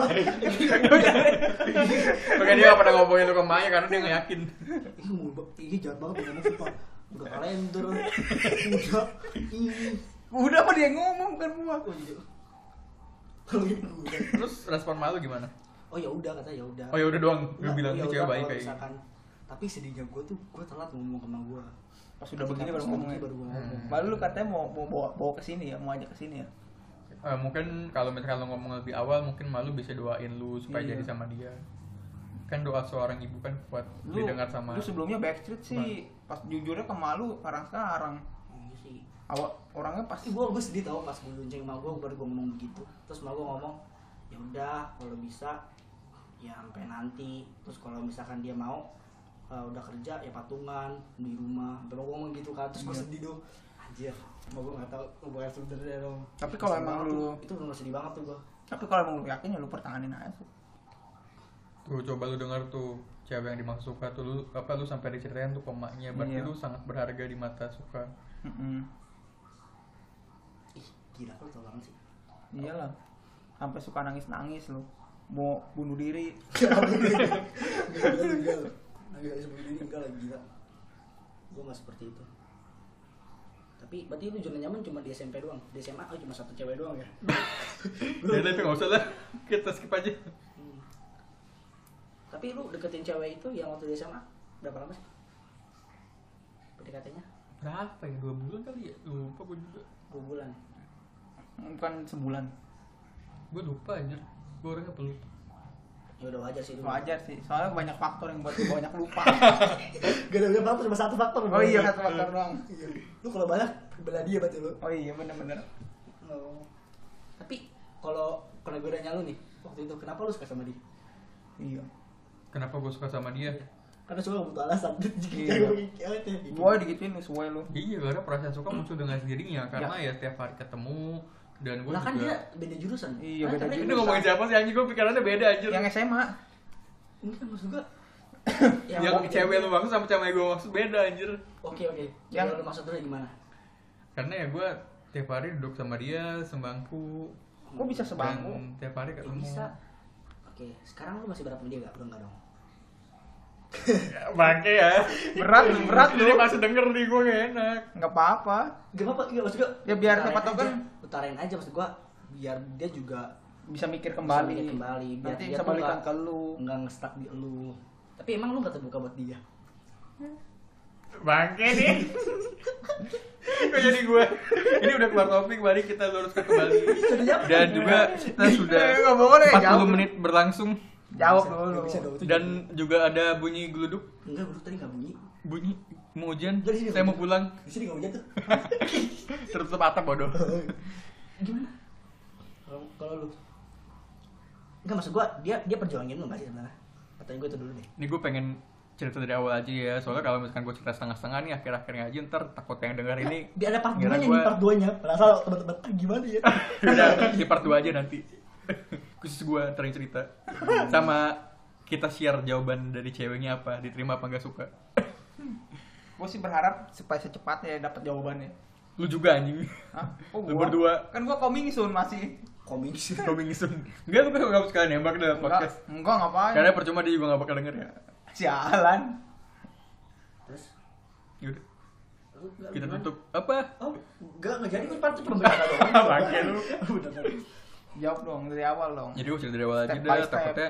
makanya dia gak pernah ngomongin lo ke Maya karena dia nggak yakin Ih, mulu banget. ini jahat banget ngomong sumpah udah kalender udah ini Udah apa dia yang ngomong bukan gua. oh iya kalau gitu udah. terus respon malu gimana oh ya udah kata ya udah oh ya udah doang gue Nggak, bilang ya ini cewek udah, baik kalau kayak gini misalkan, tapi sedihnya gue tuh gue telat ngomong sama gue Pas udah begini baru ngomong. ya. baru gua ngomong Baru lu katanya mau mau bawa bawa ke sini ya, mau ajak ke sini ya. Eh, mungkin kalau misalkan lo ngomong lebih awal mungkin malu bisa doain lu supaya Iya. jadi sama dia kan doa seorang ibu kan kuat Lu, didengar sama lu sebelumnya backstreet sih. Pas jujurnya ke malu sekarang sekarang. Iya sih Awak orangnya pasti tapi gue gue sedih tau pas gue lonceng sama gue baru gue ngomong begitu terus sama gue ngomong ya udah kalau bisa ya sampai nanti terus kalau misalkan dia mau eh, udah kerja ya patungan di rumah sampai gue ngomong gitu kan terus gue Iya. sedih dong anjir mau gue nggak tahu gue harus sebenernya ya dong Tapi kalau Sedih emang banget lu- tuh. itu benar sedih banget tuh gue tapi kalau emang lu yakin ya lu pertahanin aja sih. Tuh coba lu dengar tuh cewek yang dimaksud suka tuh lu apa lu sampai diceritain tuh ke emaknya berarti Iya. lu sangat berharga di mata suka. Mm-mm. ih gila lu tau banget sih Iyalah. Sampai suka nangis-nangis lu. Mau bunuh diri. Enggak, enggak, enggak. Enggak, sebelum ini enggak lagi gila. Gue gak seperti itu. Tapi berarti itu zona nyaman cuma di SMP doang. Di SMA oh cuma satu cewek doang ya. Ya tapi nggak usah lah kita skip aja. Hmm. Tapi lu deketin cewek itu yang waktu di SMA berapa lama sih? PDKT-nya Berapa ya dua bulan kali ya lupa gue juga. dua bulan. Bukan sebulan. Gue lupa aja. Gue orangnya pelupa. Ya udah wajar sih itu. Wajar sih. Soalnya banyak faktor yang buat lu banyak lupa. Gak ada faktor cuma satu faktor. oh iya satu faktor doang. Iya. Lu kalau banyak bela dia berarti lu. Oh iya bener-bener. Oh. Tapi kalau kalau gue nanya lu nih waktu itu kenapa lu suka sama dia? Iya. Kenapa gue suka sama dia? Iya. Karena cuma butuh alasan. Iya. gitu. Gue digituin lu suwe lu. Iya karena perasaan suka muncul dengan sendirinya karena ya setiap hari ketemu dan gue Iya. Lah kan dia juga. beda jurusan. Iya, Kan beda tapi- Ini ngomongin siapa sih anjing gue pikirannya beda anjir. Yang, Yang SMA. Enggak kan maksud gua. Ya, cewek lu maksud sama cewek gue maksud beda anjir. Oke oke. Yang Yang- lu maksudnya gimana? Karena ya gue tiap hari duduk sama dia sembangku Kok bisa sebangku? dan tiap hari Ya, ketemu. bisa. Oke, sekarang lu masih berapa sama dia enggak? Udah enggak dong. Bangke ya. Berat lu, berat lu. Jadi pas denger nih gue gak enak. Nggak apa-apa. Gak apa-apa, iya maksud gua. Ya, biar utarain siapa tahu aja. kan. utarain aja maksud gua biar dia juga Bisa mikir kembali. mikir kembali, biar Nanti dia bisa tuh balikan ke nggak- Hmm. lu. enggak ngestak di lu. Tapi emang lu gak terbuka buat dia. Bangke nih. Kok jadi gue? Ini udah keluar topik, mari kita luruskan kembali. Dan juga kita sudah Eh, nggak boleh, jauh. 40 menit berlangsung Jawab Nggak dulu. nggak bisa dong, itu dan juga ada bunyi geluduk, gimana? enggak guru tadi enggak bunyi. bunyi mau hujan, Dari sini, saya mau hujan. pulang, Di sini enggak bunyi tuh. tertutup atap bodoh. gimana kalau kalau lu enggak maksud gua dia dia perjuangin lu nggak sih sebenarnya katanya gua itu dulu deh Ini gue pengen cerita dari awal aja ya, soalnya kalau misalkan gue cerita setengah-setengah nih akhir-akhirnya aja ntar takut yang denger ini biar ada part ngira 2 nya gua- nih part 2 nya Penasaran teman-teman ah, gimana ya Udah, di part 2 aja nanti. Khusus gue ntar yang cerita. Sama kita share jawaban dari ceweknya apa, diterima apa nggak suka. Gue sih berharap supaya secepatnya dapat jawabannya. Lu juga anjing. Hah? Oh, Lu gua? berdua. Kan gua coming soon masih. komik sih Coming soon. Enggak, lu kan nggak suka nembak dalam Enggak, podcast. enggak ngapain. Karena percuma dia juga nggak bakal denger ya. Sialan. terus Yaudah, lu nggak- Iya. kita gimana? tutup. Apa? oh nggak nggak jadi gue paling cuma bercanda doang Bangke lu. Udah, udah. Jawab dong dari awal dong. Jadi gue cerita dari awal aja Step by deh, step. takutnya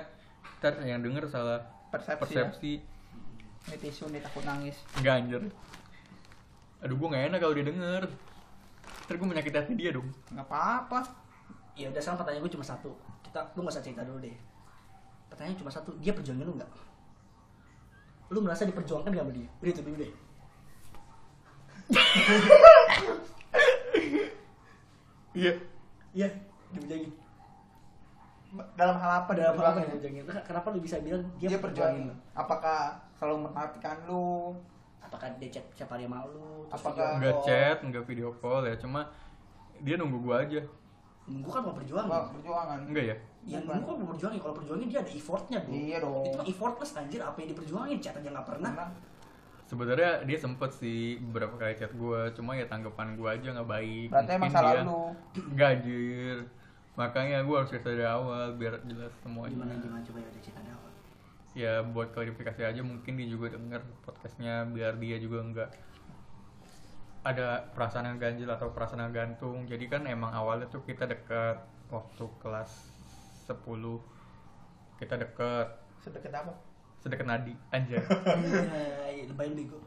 ntar yang denger salah Persepsi. persepsi. Ya. Ini tisu nih takut nangis. Enggak anjir. Aduh, gue gak enak kalau dia denger. Ntar gue menyakiti hati dia dong. Enggak apa-apa. ya udah sekarang pertanyaan gue cuma satu kita lu nggak usah cerita dulu deh pertanyaan cuma satu dia perjuangin lu nggak lu merasa diperjuangkan gak sama dia udah itu dulu deh Iya. iya diperjuangin Dalam hal apa dalam hal apa diperjuangin diperjuangin? Nah, kenapa lu bisa bilang dia, Dia perjuangin perjuangin. lu Apakah selalu memperhatikan lu? apakah dia chat siapa dia mau lu terus Apakah- Enggak Oh. chat, enggak video call ya, cuma dia nunggu gue aja. dia- gue kan mau perjuangin Wah, perjuangan. Enggak ya? Ya lu kok mau perjuangin? Kalau perjuangin dia ada effortnya dong. Iya dong. Itu mah effortless anjir apa yang diperjuangin? Chat aja nggak pernah. Karena Sebenarnya dia sempet sih beberapa kali chat gue, cuma ya tanggapan gue aja nggak baik. berarti emang salah lu. Enggak anjir. Makanya gue harus cerita dari awal biar jelas semuanya. Gimana gimana coba ya udah cerita dari awal. ya buat klarifikasi aja mungkin dia juga denger podcastnya biar dia juga nggak ada perasaan yang ganjil atau perasaan yang gantung jadi kan emang awalnya tuh kita deket waktu kelas 10 kita deket Sedekat apa? sedekat nadi anjay Iya, lebay lu bego.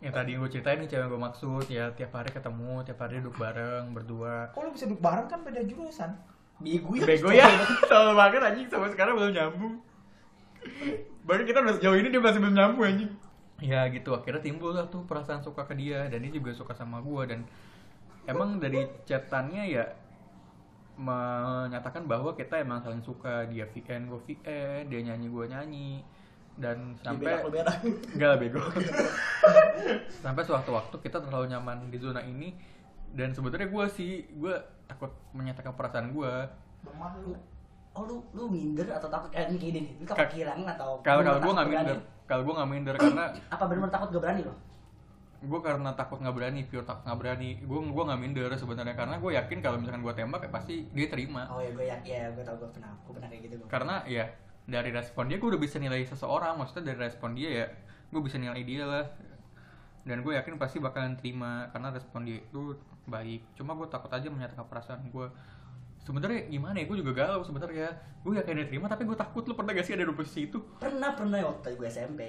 yang tadi gue ceritain nih cewek gue maksud ya tiap hari ketemu tiap hari duduk bareng berdua Kok lu bisa duduk bareng kan beda jurusan? Bego ya. bego ya sama banget anjing sampai sekarang belum nyambung baru kita udah sejauh ini dia masih belum nyambung anjing ya gitu akhirnya timbul lah tuh perasaan suka ke dia dan dia juga suka sama gua dan emang dari chatannya ya menyatakan bahwa kita emang saling suka dia VN gua VN dia nyanyi gua nyanyi dan sampai Sampai lu berak. Enggak lah bego. Sampai suatu waktu kita terlalu nyaman di zona ini dan sebetulnya gue sih gue takut menyatakan perasaan gue. Lemah lu. Oh lu lu minder atau takut eh ini gini nih. Lu takut Ka- kehilangan atau Kalau kalau gue bener-bener takut nggak berani? minder, kalau gue nggak minder karena Apa benar takut gak berani lo? gue karena takut nggak berani, pure takut nggak berani. Gue gue nggak minder sebenarnya karena gue yakin kalau misalkan gue tembak ya pasti dia terima. Oh ya gue yakin ya gue tau gue pernah gue pernah kayak gitu gue. Karena ya dari respon dia gue udah bisa nilai seseorang. Maksudnya dari respon dia ya gue bisa nilai dia lah. Dan gue yakin pasti bakalan terima karena respon dia itu baik. Cuma gue takut aja menyatakan perasaan gue. Sebenarnya gimana ya? Gue juga galau sebenarnya. Gue yakin dia terima tapi gue takut lo pernah gak sih ada di posisi itu? Pernah pernah ya waktu gue SMP.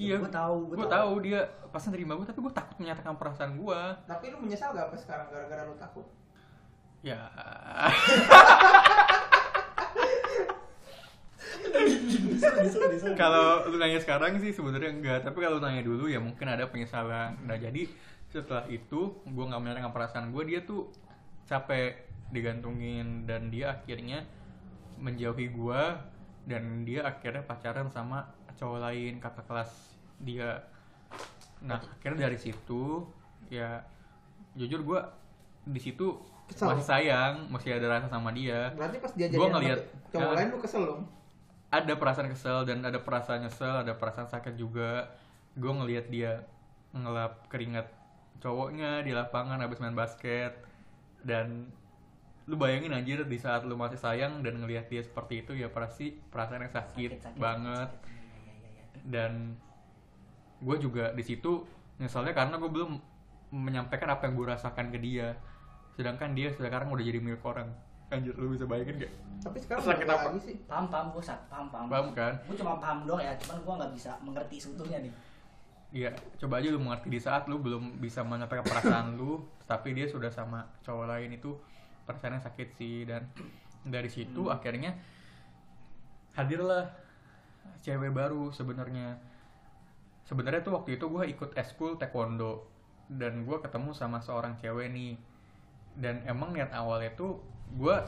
Iya, Gue tahu Gue tahu dia pasti terima gue tapi gue takut menyatakan perasaan gue. Tapi lu menyesal gak apa sekarang gara-gara lu takut? Ya. Disuruh, disuruh. kalau lu nanya sekarang sih sebenarnya enggak tapi kalau lu nanya dulu ya mungkin ada penyesalan nah jadi setelah itu gue nggak menyerahkan perasaan gue dia tuh capek digantungin dan dia akhirnya menjauhi gue dan dia akhirnya pacaran sama cowok lain kakak kelas dia nah akhirnya dari situ ya jujur gue di situ Kesal. masih sayang masih ada rasa sama dia Berarti pas dia Gua jadi ngeliat, cowok ya. lain lu kesel dong. ada perasaan kesel dan ada perasaan nyesel, ada perasaan sakit juga. Gue ngelihat dia ngelap keringat cowoknya di lapangan habis main basket dan lu bayangin anjir di saat lu masih sayang dan ngelihat dia seperti itu ya pasti perasaan yang sakit, Iya, banget dan gue juga di situ nyesalnya karena gue belum menyampaikan apa yang gue rasakan ke dia sedangkan dia sekarang udah jadi milik orang anjir lu bisa bayangin gak Tapi sekarang Sakit balik apa? lagi sih? Paham paham gue sak paham paham. paham kan Gue cuma paham doang ya, cuman gue nggak bisa mengerti seutuhnya nih. Iya, coba aja lu mengerti di saat lu belum bisa menyampaikan perasaan lu, tapi dia sudah sama cowok lain itu perasaannya sakit sih dan dari situ akhirnya hadirlah cewek baru sebenarnya. Sebenarnya tuh waktu itu gue ikut eskul taekwondo dan gue ketemu sama seorang cewek nih dan emang niat awalnya tuh gue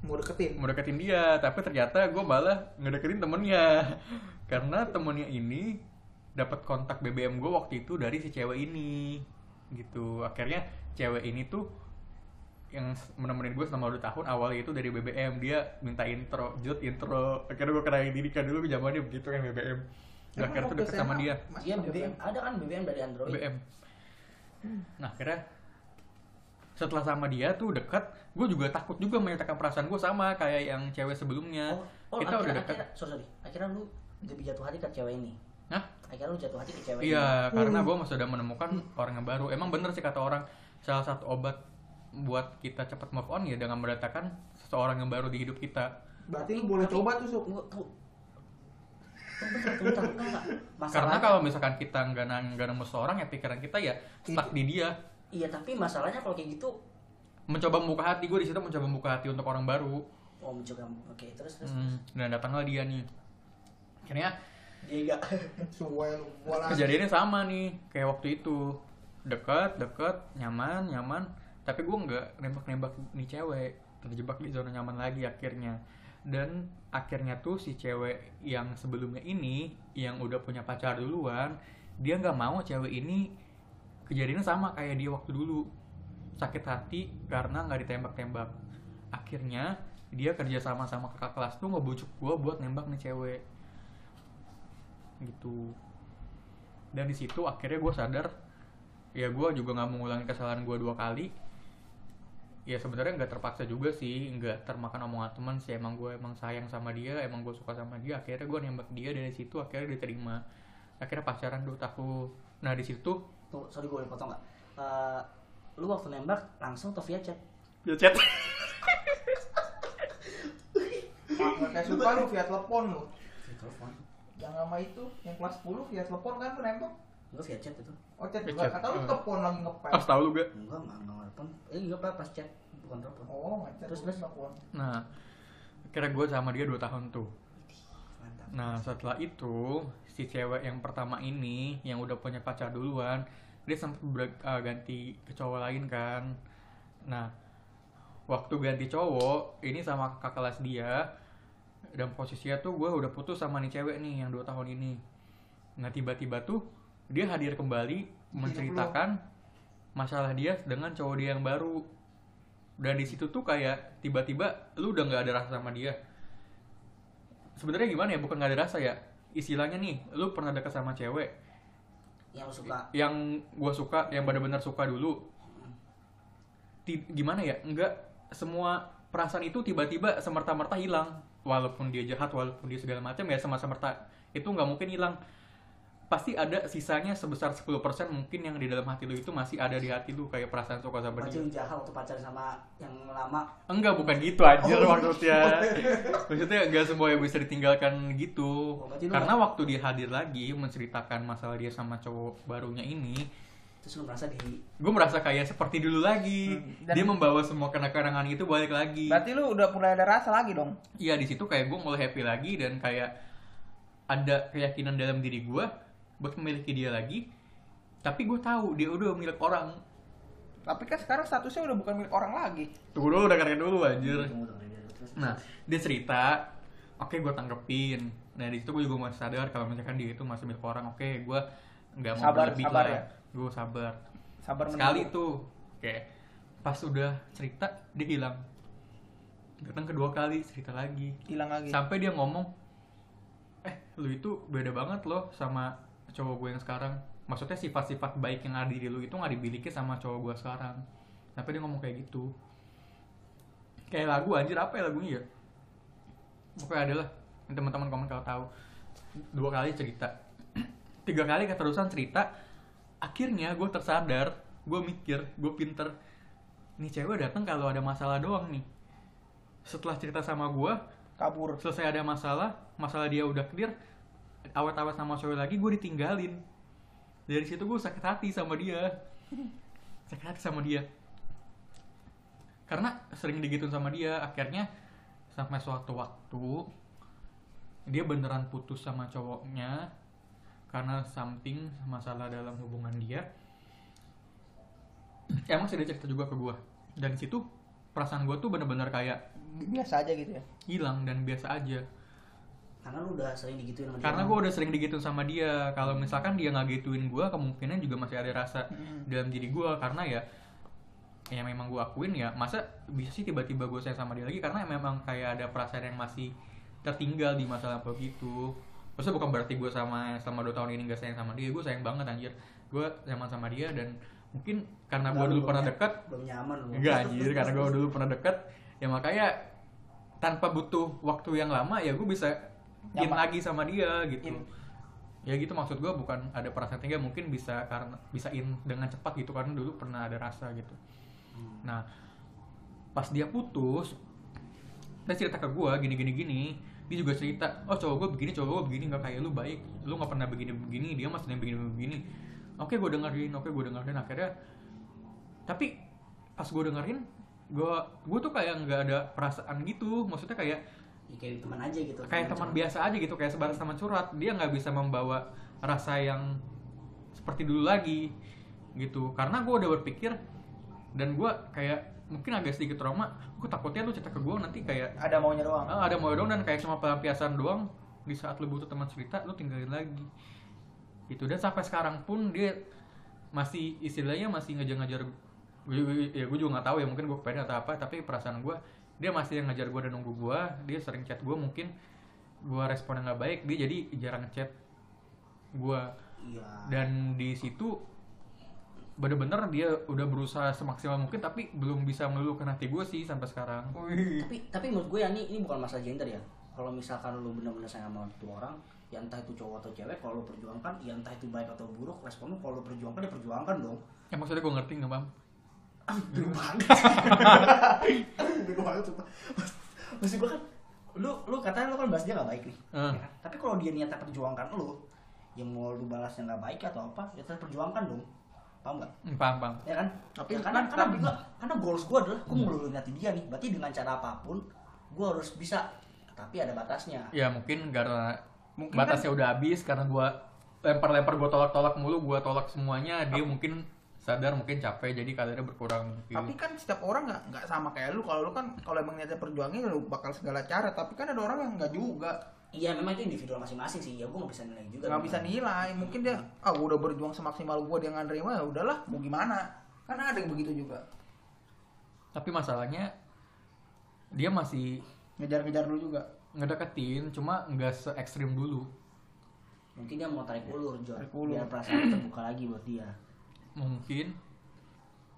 Mau deketin. mau deketin dia tapi ternyata gue malah ngedeketin temennya karena temennya ini dapat kontak BBM gue waktu itu dari si cewek ini gitu akhirnya cewek ini tuh yang s- menemenin gue selama 2 tahun awalnya itu dari BBM dia minta intro jut intro akhirnya gue kenalin diri kan dulu zamannya begitu kan BBM Dan Emang ya? akhirnya tuh waktu deket sama SMA dia masih Iya pakai BBM, ada kan BBM dari Android. BBM. Nah akhirnya setelah sama dia tuh dekat, gue juga takut juga menyatakan perasaan gue sama kayak yang cewek sebelumnya. Oh, oh, Kita akhirnya, udah dekat. akhirnya, sorry, sorry. Akhirnya lu lebih jatuh hati ke cewek ini. Hah? akhirnya lu jatuh hati ke cewek Iya, karena gue sudah menemukan orang yang baru. Emang bener sih kata orang, salah satu obat buat kita cepat move on ya dengan mendatangkan seseorang yang baru di hidup kita. Berarti lu boleh coba tuh, Suk. Tunggu, tunggu. Tunggu, tunggu, tunggu, tunggu. Karena Masalahnya- kalau misalkan kita nggak na- nggak nemu seorang ya pikiran kita ya stuck di dia. iya tapi masalahnya kalau kayak gitu Mencoba membuka hati gue di situ mencoba membuka hati untuk orang baru. oh mencoba oke terus terus Hmm, dan datanglah dia nih. Akhirnya dia enggak Suwe lu. Gua lagi. kejadiannya sama nih kayak waktu itu dekat dekat nyaman nyaman tapi gue nggak nembak nembak nih cewek terjebak di zona nyaman lagi akhirnya dan akhirnya tuh si cewek yang sebelumnya ini yang udah punya pacar duluan dia nggak mau cewek ini kejadiannya sama kayak dia waktu dulu sakit hati karena nggak ditembak-tembak akhirnya dia kerja sama sama kakak kelas tuh ngebujuk gue buat nembak nih cewek gitu dan di situ akhirnya gue sadar ya gue juga nggak mengulangi kesalahan gue dua kali ya sebenarnya nggak terpaksa juga sih nggak termakan omongan teman sih emang gue emang sayang sama dia emang gue suka sama dia akhirnya gue nembak dia dan di situ akhirnya diterima akhirnya pacaran dua tahun nah di situ tuh sorry gue potong nggak Eh, lu waktu nembak langsung atau via chat ya chat Kayak suka lu via telepon lu. telepon Yang lama itu, yang kelas 10 via telepon kan lu nembak. gue via chat itu Oh, chat Via juga. chat. Kata lu Hmm. telepon lagi ngepel. ah tahu lu gak enggak mah enggak telepon eh enggak pas pas chat bukan telepon Oh, ngechat Terus, terus terus. telepon. nah akhirnya gue sama dia dua tahun tuh mantap Nah setelah itu si cewek yang pertama ini yang udah punya pacar duluan dia sempat ganti ke cowok lain kan. Nah waktu ganti cowok ini sama kakak kelas dia dan posisinya tuh gue udah putus sama nih cewek nih yang dua tahun ini. Nah tiba-tiba tuh dia hadir kembali menceritakan masalah dia dengan cowok dia yang baru. Dan di situ tuh kayak tiba-tiba lu udah nggak ada rasa sama dia sebenarnya gimana ya bukan nggak ada rasa ya istilahnya nih lu pernah dekat sama cewek yang lu suka Iya, yang gua suka yang benar-benar suka dulu Ti- gimana ya nggak semua perasaan itu tiba-tiba semerta-merta hilang walaupun dia jahat walaupun dia segala macam ya sama semerta itu nggak mungkin hilang pasti ada sisanya sebesar 10% mungkin yang di dalam hati lu itu masih ada di hati lu kayak perasaan suka sama Berarti dia lu jahat waktu pacaran sama yang lama enggak bukan gitu anjir Oh. maksudnya maksudnya enggak semua yang bisa ditinggalkan gitu Oh, berarti lu karena waktu dia hadir lagi menceritakan masalah dia sama cowok barunya ini terus lu merasa di gue merasa kayak seperti dulu lagi Hmm, Dan- dia membawa semua kenang-kenangan itu balik lagi Berarti lu udah mulai ada rasa lagi dong. Iya di situ kayak gue mulai happy lagi dan kayak ada keyakinan dalam diri gue buat memiliki dia lagi tapi gue tahu dia udah milik orang Tapi kan sekarang statusnya udah bukan milik orang lagi. tunggu dulu udah keren dulu anjir tunggu tunggu tunggu, terus Iya. Nah, dia cerita, oke gue tanggepin. Nah, di situ gue juga masih sadar kalau misalkan dia itu masih milik orang, oke gue nggak mau Sabar, berlebih sabar lah. ya? Gue sabar. Sabar Sekali menunggu. tuh, oke. Pas udah cerita, dia hilang. Datang kedua kali, cerita lagi. hilang lagi. Sampai dia ngomong, eh lu itu beda banget loh sama cowok gue yang sekarang. Maksudnya sifat-sifat baik yang ada di lu itu nggak dimiliki sama cowok gue sekarang. Sampai dia ngomong kayak gitu. Kayak lagu anjir apa ya lagunya ya? Pokoknya adalah teman-teman komen kalau tahu dua kali cerita tiga kali keterusan cerita akhirnya gue tersadar gue mikir gue pinter nih cewek datang kalau ada masalah doang nih setelah cerita sama gue Kabur. selesai ada masalah masalah dia udah clear awet-awet sama cewek lagi gue ditinggalin dari situ gue sakit hati sama dia sakit hati sama dia karena sering digituin sama dia akhirnya sampai suatu waktu dia beneran putus sama cowoknya karena something masalah dalam hubungan dia emang sih dia cerita juga ke gue dan di situ perasaan gue tuh bener-bener kayak Biasa aja gitu ya. hilang dan biasa aja karena lu udah sering digituin sama dia. karena gue udah sering digituin sama dia kalau misalkan dia nggak gituin gue kemungkinan juga masih ada rasa Hmm. Hmm. dalam diri gue karena ya ya memang gue akuin ya masa bisa sih tiba-tiba gue sayang sama dia lagi karena memang kayak ada perasaan yang masih tertinggal di masa lampau gitu maksudnya bukan berarti gue sama selama 2 tahun ini gak sayang sama dia gue sayang banget anjir gue nyaman sama dia dan mungkin karena gue Lalu dulu belum pernah ny- dekat belum nyaman lu Enggak anjir, karena gue dulu pernah deket Ya makanya tanpa butuh waktu yang lama ya gue bisa in Nyaman. lagi sama dia gitu In. ya gitu maksud gue bukan ada perasaan tinggal mungkin bisa karena bisa in dengan cepat gitu karena dulu pernah ada rasa gitu nah pas dia putus dia cerita ke gue gini gini gini dia juga cerita oh cowok gue begini cowok gue begini nggak kayak lu baik lu nggak pernah begini begini dia masih yang begini begini oke gue dengerin oke gue dengerin akhirnya tapi pas gue dengerin gue gue tuh kayak nggak ada perasaan gitu maksudnya kayak Ya, kayak teman aja gitu kayak teman biasa aja gitu kayak sebatas teman curhat dia nggak bisa membawa rasa yang seperti dulu lagi gitu karena gue udah berpikir dan gue kayak mungkin agak sedikit trauma gue takutnya lu cerita ke gue nanti kayak ada maunya doang "Ah, ada mau dong dan kayak cuma pelampiasan doang di saat lu butuh teman cerita lu tinggalin lagi gitu dan sampai sekarang pun dia masih istilahnya masih ngejar-ngejar gue juga- ya gue juga nggak tahu ya mungkin gue kepengen atau apa tapi perasaan gue dia masih yang ngejar gue dan nunggu gue dia sering chat gue mungkin gue responnya nggak baik dia jadi jarang chat gue iya dan di situ bener-bener dia udah berusaha semaksimal mungkin tapi belum bisa meluluhkan hati gue sih sampai sekarang tapi tapi menurut gue ya ini ini bukan masalah gender ya kalau misalkan lu benar-benar sayang sama tuh orang ya entah itu cowok atau cewek kalau lu perjuangkan ya entah itu baik atau buruk respon lu kalau lu perjuangkan ya perjuangkan dong ya maksudnya gue ngerti nggak bang Aduh banget. Aduh bego banget sumpah. Mas- Maksud gue kan lu lu katanya lu kan bahas dia gak baik nih. Hmm. Ya kan? Tapi kalau dia niatnya perjuangkan lu, ya mau lu balasnya gak baik atau apa, ya tetap perjuangkan dong. Paham gak? Hmm, paham paham Ya kan? Tapi ya, karena, kan- karena, kan- gua, karena goals gue adalah gue meluluhkan dia nih. Berarti dengan cara apapun, gue harus bisa. Tapi ada batasnya. ya mungkin karena Mungkin batasnya udah habis karena gue lempar-lempar gue tolak-tolak mulu gue tolak semuanya dia mungkin sadar mungkin capek jadi kadarnya berkurang mungkin. tapi kan setiap orang nggak nggak sama kayak lu kalau lu kan kalau emang niatnya perjuangin ya lu bakal segala cara tapi kan ada orang yang nggak juga Iya memang itu individual masing-masing sih. Ya gue gak bisa nilai juga. nggak memang. bisa nilai mungkin dia ah gua udah berjuang semaksimal gua dia nggak nerima ya udahlah mau gimana kan ada yang begitu juga tapi masalahnya dia masih ngejar-ngejar lu juga ngedeketin cuma nggak se ekstrim dulu Mungkin dia mau tarik ulur, Jor. Iya, Tarik ulur. Biar perasaan terbuka lagi buat dia. mungkin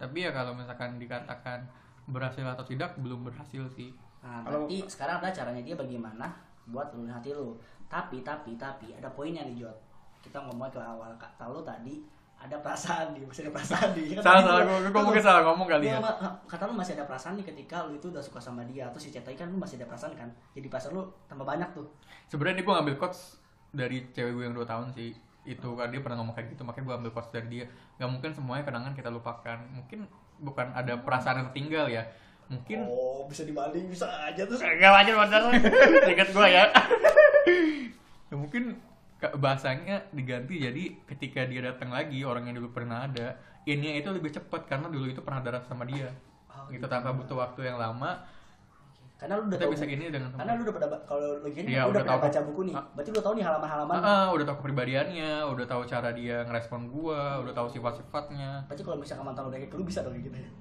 tapi ya kalau misalkan dikatakan berhasil atau tidak belum berhasil sih Nah, Kalau- tapi sekarang ada caranya dia bagaimana buat luluhin hati lu. Tapi, tapi, tapi ada poinnya nih Jod. Kita ngomong ke awal kata lu tadi ada perasaan nih, masih ada perasaan nih. Kan salah tadi salah lu- gue lu- mungkin salah ngomong lu kali ya sama- Kata lu masih ada perasaan nih ketika lu itu udah suka sama dia Terus si cetai kan lu masih ada perasaan kan Jadi perasaan lu tambah banyak tuh sebenarnya ini gue ngambil quotes dari cewek gue yang 2 tahun sih itu kan dia pernah ngomong kayak gitu makanya gue ambil quotes dari dia nggak mungkin semuanya kenangan kita lupakan mungkin bukan ada perasaan yang tertinggal ya mungkin Oh bisa dibanding bisa aja terus Gak wajar wajar Ingat gue ya Ya mungkin ke- bahasanya diganti jadi ketika dia datang lagi orang yang dulu pernah ada ini itu lebih cepat karena dulu itu pernah ada rasa sama dia Oh, gitu tanpa butuh waktu yang lama Karena lu udah kita tahu bisa gini dengan Karena lu udah pada kalau lu gini Iya, lu udah udah pernah tahu. baca buku nih Ah. Berarti lu tahu nih halaman-halaman Ah, ah, udah tahu kepribadiannya udah tahu cara dia ngerespon gua udah tahu sifat-sifatnya Berarti kalau misalkan mantan lu udah kayak gitu, lu bisa dong kayak gitu ya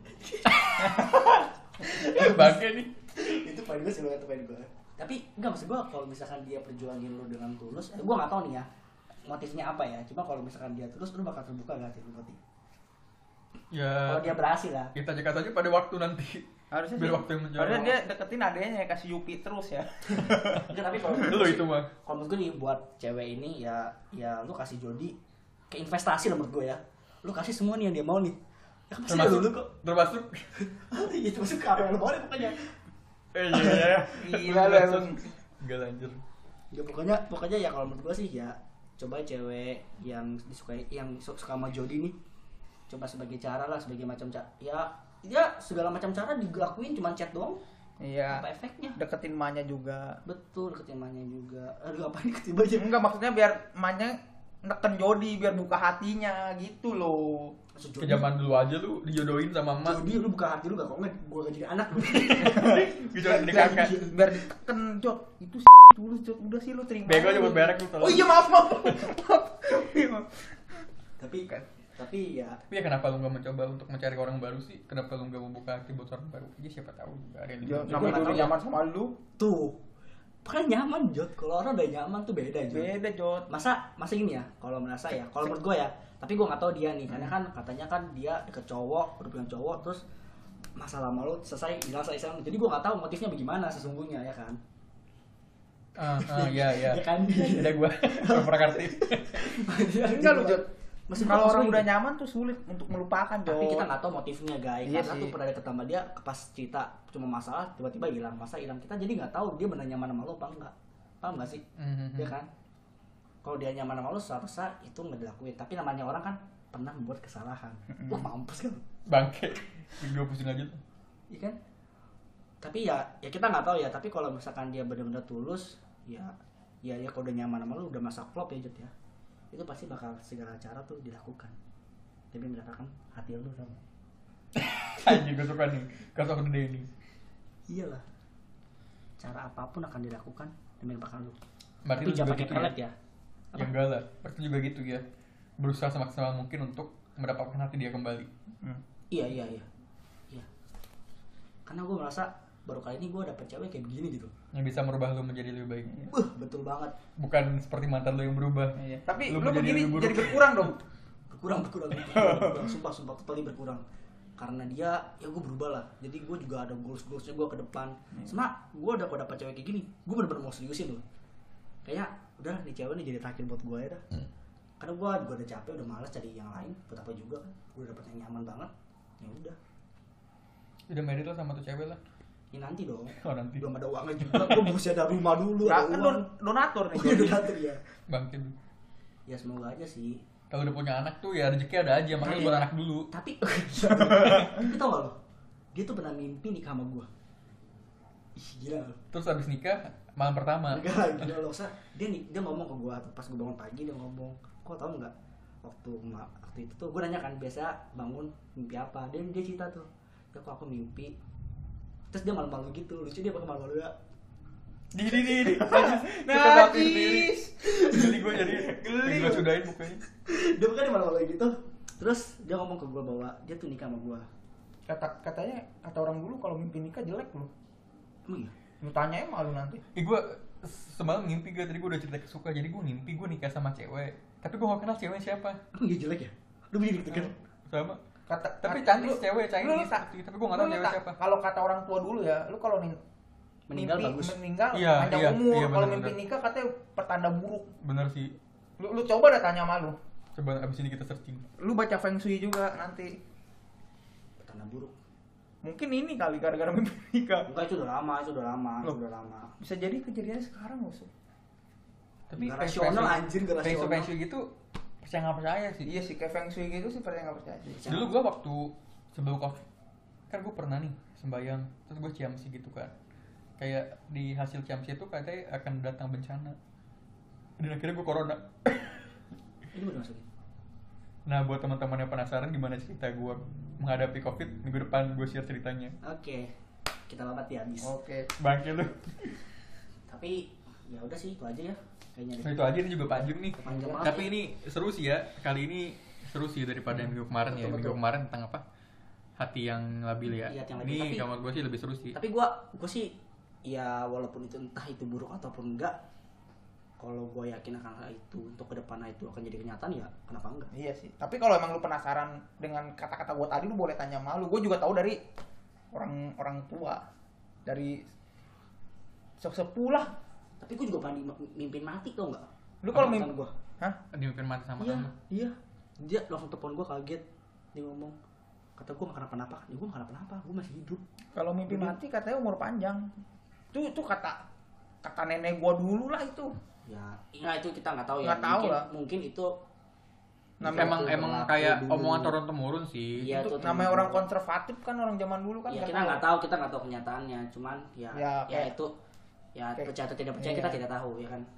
bangke nih itu poin gue sih itu poin gue tapi enggak maksud gue kalau misalkan dia perjuangin lu dengan tulus eh, gue nggak tahu nih ya motifnya apa ya cuma kalau misalkan dia tulus lu bakal terbuka gak hati lu berarti ya kalau dia berhasil lah kita cekat aja pada waktu nanti harusnya biar sih- waktu yang menjawab harusnya dia deketin adanya kasih Yupi terus ya enggak tapi kalau lu itu mah kalau menurut gue nih buat cewek ini ya ya lu kasih jodi ke investasi lah menurut gue ya lu kasih semua nih yang dia mau nih ya kan pasti ada dulu termasuk kok termasuk Iya, itu masuk ke apa yang lu mau deh pokoknya eh iya iya Gila lu emang. gak lanjut ya pokoknya pokoknya ya kalau menurut gue sih ya coba cewek yang disukai yang su- suka sama Jody nih coba sebagai cara lah sebagai macam cara ya ya segala macam cara dilakuin cuman chat doang iya apa efeknya deketin emaknya juga betul ketimanya juga aduh apa nih ketiba aja enggak maksudnya biar emaknya neken Jody biar buka hatinya gitu loh Maksud ke Jody, zaman dulu aja lu dijodohin sama emak Jody lu buka hati lu gak kok nggak gue gak jadi anak lu gitu kan dikangkat biar diteken Jod itu s*** tulus Jod udah sih lu terima bego gitu aja. nyebut merek lu tolong oh iya maaf maaf Maaf. Iya, maaf tapi tapi ya tapi ya kenapa lu gak mencoba untuk mencari orang baru sih kenapa lu gak mau buka hati buat orang baru aja siapa tahu juga ada yang Ya, lebih namanya nggak dulu tahu ya. nyaman sama lu tuh pokoknya nyaman Jod kalau orang udah nyaman tuh beda Jod beda Jod masa masa gini ya kalau merasa ya kalau menurut gue ya tapi gue nggak tahu dia nih Hmm. karena kan katanya kan dia deket cowok udah bilang cowok terus masalah malu selesai bilang selesai selesai. jadi gue nggak tahu motifnya bagaimana sesungguhnya ya kan Ah, ah, iya, iya. Ya kan? Iya Ada gua perkarti. Enggak kan? lu, Jod. Masih Kalau bagus orang lagi. udah nyaman tuh sulit untuk melupakan, Jod. tapi kita nggak tahu motifnya guys Iya karena sih. tuh pernah deket sama dia pas cerita cuma masalah tiba-tiba hilang masa hilang kita jadi nggak tahu dia benar nyaman sama lo apa enggak paham nggak sih Mhm. ya kan kalau dia nyaman sama lo seharusnya itu nggak dilakuin tapi namanya orang kan pernah membuat kesalahan wah mampus kan hmm. Bangke. Gue pusing lagi. tuh. Iya kan? Tapi ya ya kita nggak tahu ya, tapi kalau misalkan dia benar-benar tulus, ya ya ya kalau udah nyaman sama lu udah masa klop ya Jut ya. Itu pasti bakal segala cara tuh dilakukan. Demi mendapatkan hati lu sama. Anjing gue suka nih. Kasih aku gede nih. Iyalah. Cara apapun akan dilakukan demi mendapatkan lu. Berarti Tapi lu juga jangan pakai gitu ya. pelet ya. Ya enggak lah. Berarti juga gitu ya. Berusaha semaksimal mungkin untuk mendapatkan hati dia kembali. Hmm. Iya iya iya. Iya. Karena gue merasa baru kali ini gue dapet cewek kayak begini gitu. Yang bisa merubah lu menjadi lebih baik. Wah, betul banget. Bukan seperti mantan lu yang berubah. Iya. Tapi Lu lu, menjadi begini lebih buruk. jadi berkurang dong. berkurang berkurang, berkurang, berkurang. sumpah sumpah totally berkurang karena dia ya gue berubah lah jadi gue juga ada goals goalsnya gue ke depan sama gue udah kalau dapat cewek kayak gini gue bener-bener mau seriusin loh kayaknya udah nih cewek nih jadi terakhir buat gue ya dah karena gue juga udah capek udah malas cari yang lain buat apa juga kan gue udah dapet yang nyaman banget ya udah Udah married lah sama tuh cewek lah. ini nanti dong Oh nanti. belum ada uangnya juga gue mesti ada rumah dulu ada Nah, kan uang don- donatur oh nih. Jod. iya donatur ya Bangke lu. ya semoga aja sih Kalau udah punya anak tuh ya rezeki ada aja. Makanya Iya. buat anak dulu. tapi tapi tau gak lo dia tuh pernah mimpi nikah sama gue ih gila lo Terus abis nikah malam pertama. enggak lah gila lo Sa. dia nih dia ngomong ke gue pas gue bangun pagi dia ngomong kok tau nggak waktu ma- waktu itu tuh gue nanya kan biasa bangun mimpi apa dia dia cerita tuh ya kok aku mimpi terus dia malu-malu gitu lucu dia pakai malu-malu ya Di di di di. Najis. Jadi gue jadi geli. Gue Eh, sudahin mukanya. dia bukan dia malu-malu gitu terus dia ngomong ke gue bahwa dia tuh nikah sama gue Kata katanya kata orang dulu kalau mimpi nikah jelek lu. emang iya Lu tanya emang lu nanti. Eh gue semalam ngimpi gue tadi gue udah cerita ke suka jadi gue ngimpi gue nikah sama cewek tapi gue gak kenal cewek siapa emang iya jelek ya lu berdiri gitu kan sama Kata tapi kata- cantik lu- cewek lu- Chinese tapi tapi gue gak tau lu cewek tak- siapa Kalau kata orang tua dulu ya, lu kalau nin- Meninggal mimpi- bagus. meninggal Iya, panjang iya, umur. iya, kalau benar, mimpi benar. nikah katanya pertanda buruk. bener sih Lu, lu coba dah tanya sama lu. coba abis ini kita searching Lu baca feng shui juga nanti. tanda buruk Mungkin ini kali gara-gara mimpi nikah. enggak itu udah lama itu udah lama itu Loh. udah lama Bisa jadi kejadiannya sekarang loh, Sob. tapi Nggak rasional, anjir, nggak pensil rasional. pensil gitu percaya nggak percaya sih Iya sih, kayak feng shui gitu sih percaya nggak percaya. dulu gue waktu sebelum covid kan gue pernah nih sembayang terus gue ciamsi gitu kan kayak di hasil ciamsi itu katanya akan datang bencana dan akhirnya gue corona ini udah masukin nah buat teman-teman yang penasaran gimana cerita gue menghadapi covid minggu depan gue share ceritanya Oke, kita babat ya habis. Oke. bangke lu Tapi ya udah sih itu aja ya kayaknya Nah, deh. itu aja ini juga panjang nih. Panjang banget Tapi ya. ini seru sih ya. Kali ini seru sih daripada minggu kemarin ya. Hmm. Betul, Minggu betul. kemarin tentang apa? Hati yang labil ya. Iya, hati yang labil. Ini Tapi- kamar gue sih lebih seru sih. Tapi gua gua sih ya walaupun itu entah itu buruk ataupun enggak kalau gua yakin akan hal itu untuk kedepannya itu akan jadi kenyataan ya kenapa enggak Iya sih. Tapi kalau emang lu penasaran dengan kata-kata gua tadi lu boleh tanya sama lu. Gua juga tahu dari orang orang tua. Dari sesepuh lah. tapi gua juga pernah di- mimpin mati tau enggak Lu kalau mimpi Mantan gua Hah? Dimimpin mati sama iya kamu. iya dia langsung telepon gua kaget dia ngomong kata gua makan apa napa ya gua makan apa napa gua masih hidup Kalau mimpi Mimpi. mati katanya umur panjang. Itu itu kata kata nenek gua dulu lah itu. ya nah itu kita nggak tahu ya Nggak tahu mungkin, lah. mungkin itu Nah, Itu emang waktu emang berlaku kayak dulu. omongan turun temurun sih. Iya, itu tuh, namanya temen orang gua. konservatif kan orang zaman dulu kan. ya nggak kita tahu. nggak tahu kita nggak tahu kenyataannya cuman ya ya, Ya, kayak- itu ya kayak- percaya atau tidak percaya iya. kita tidak tahu ya kan itu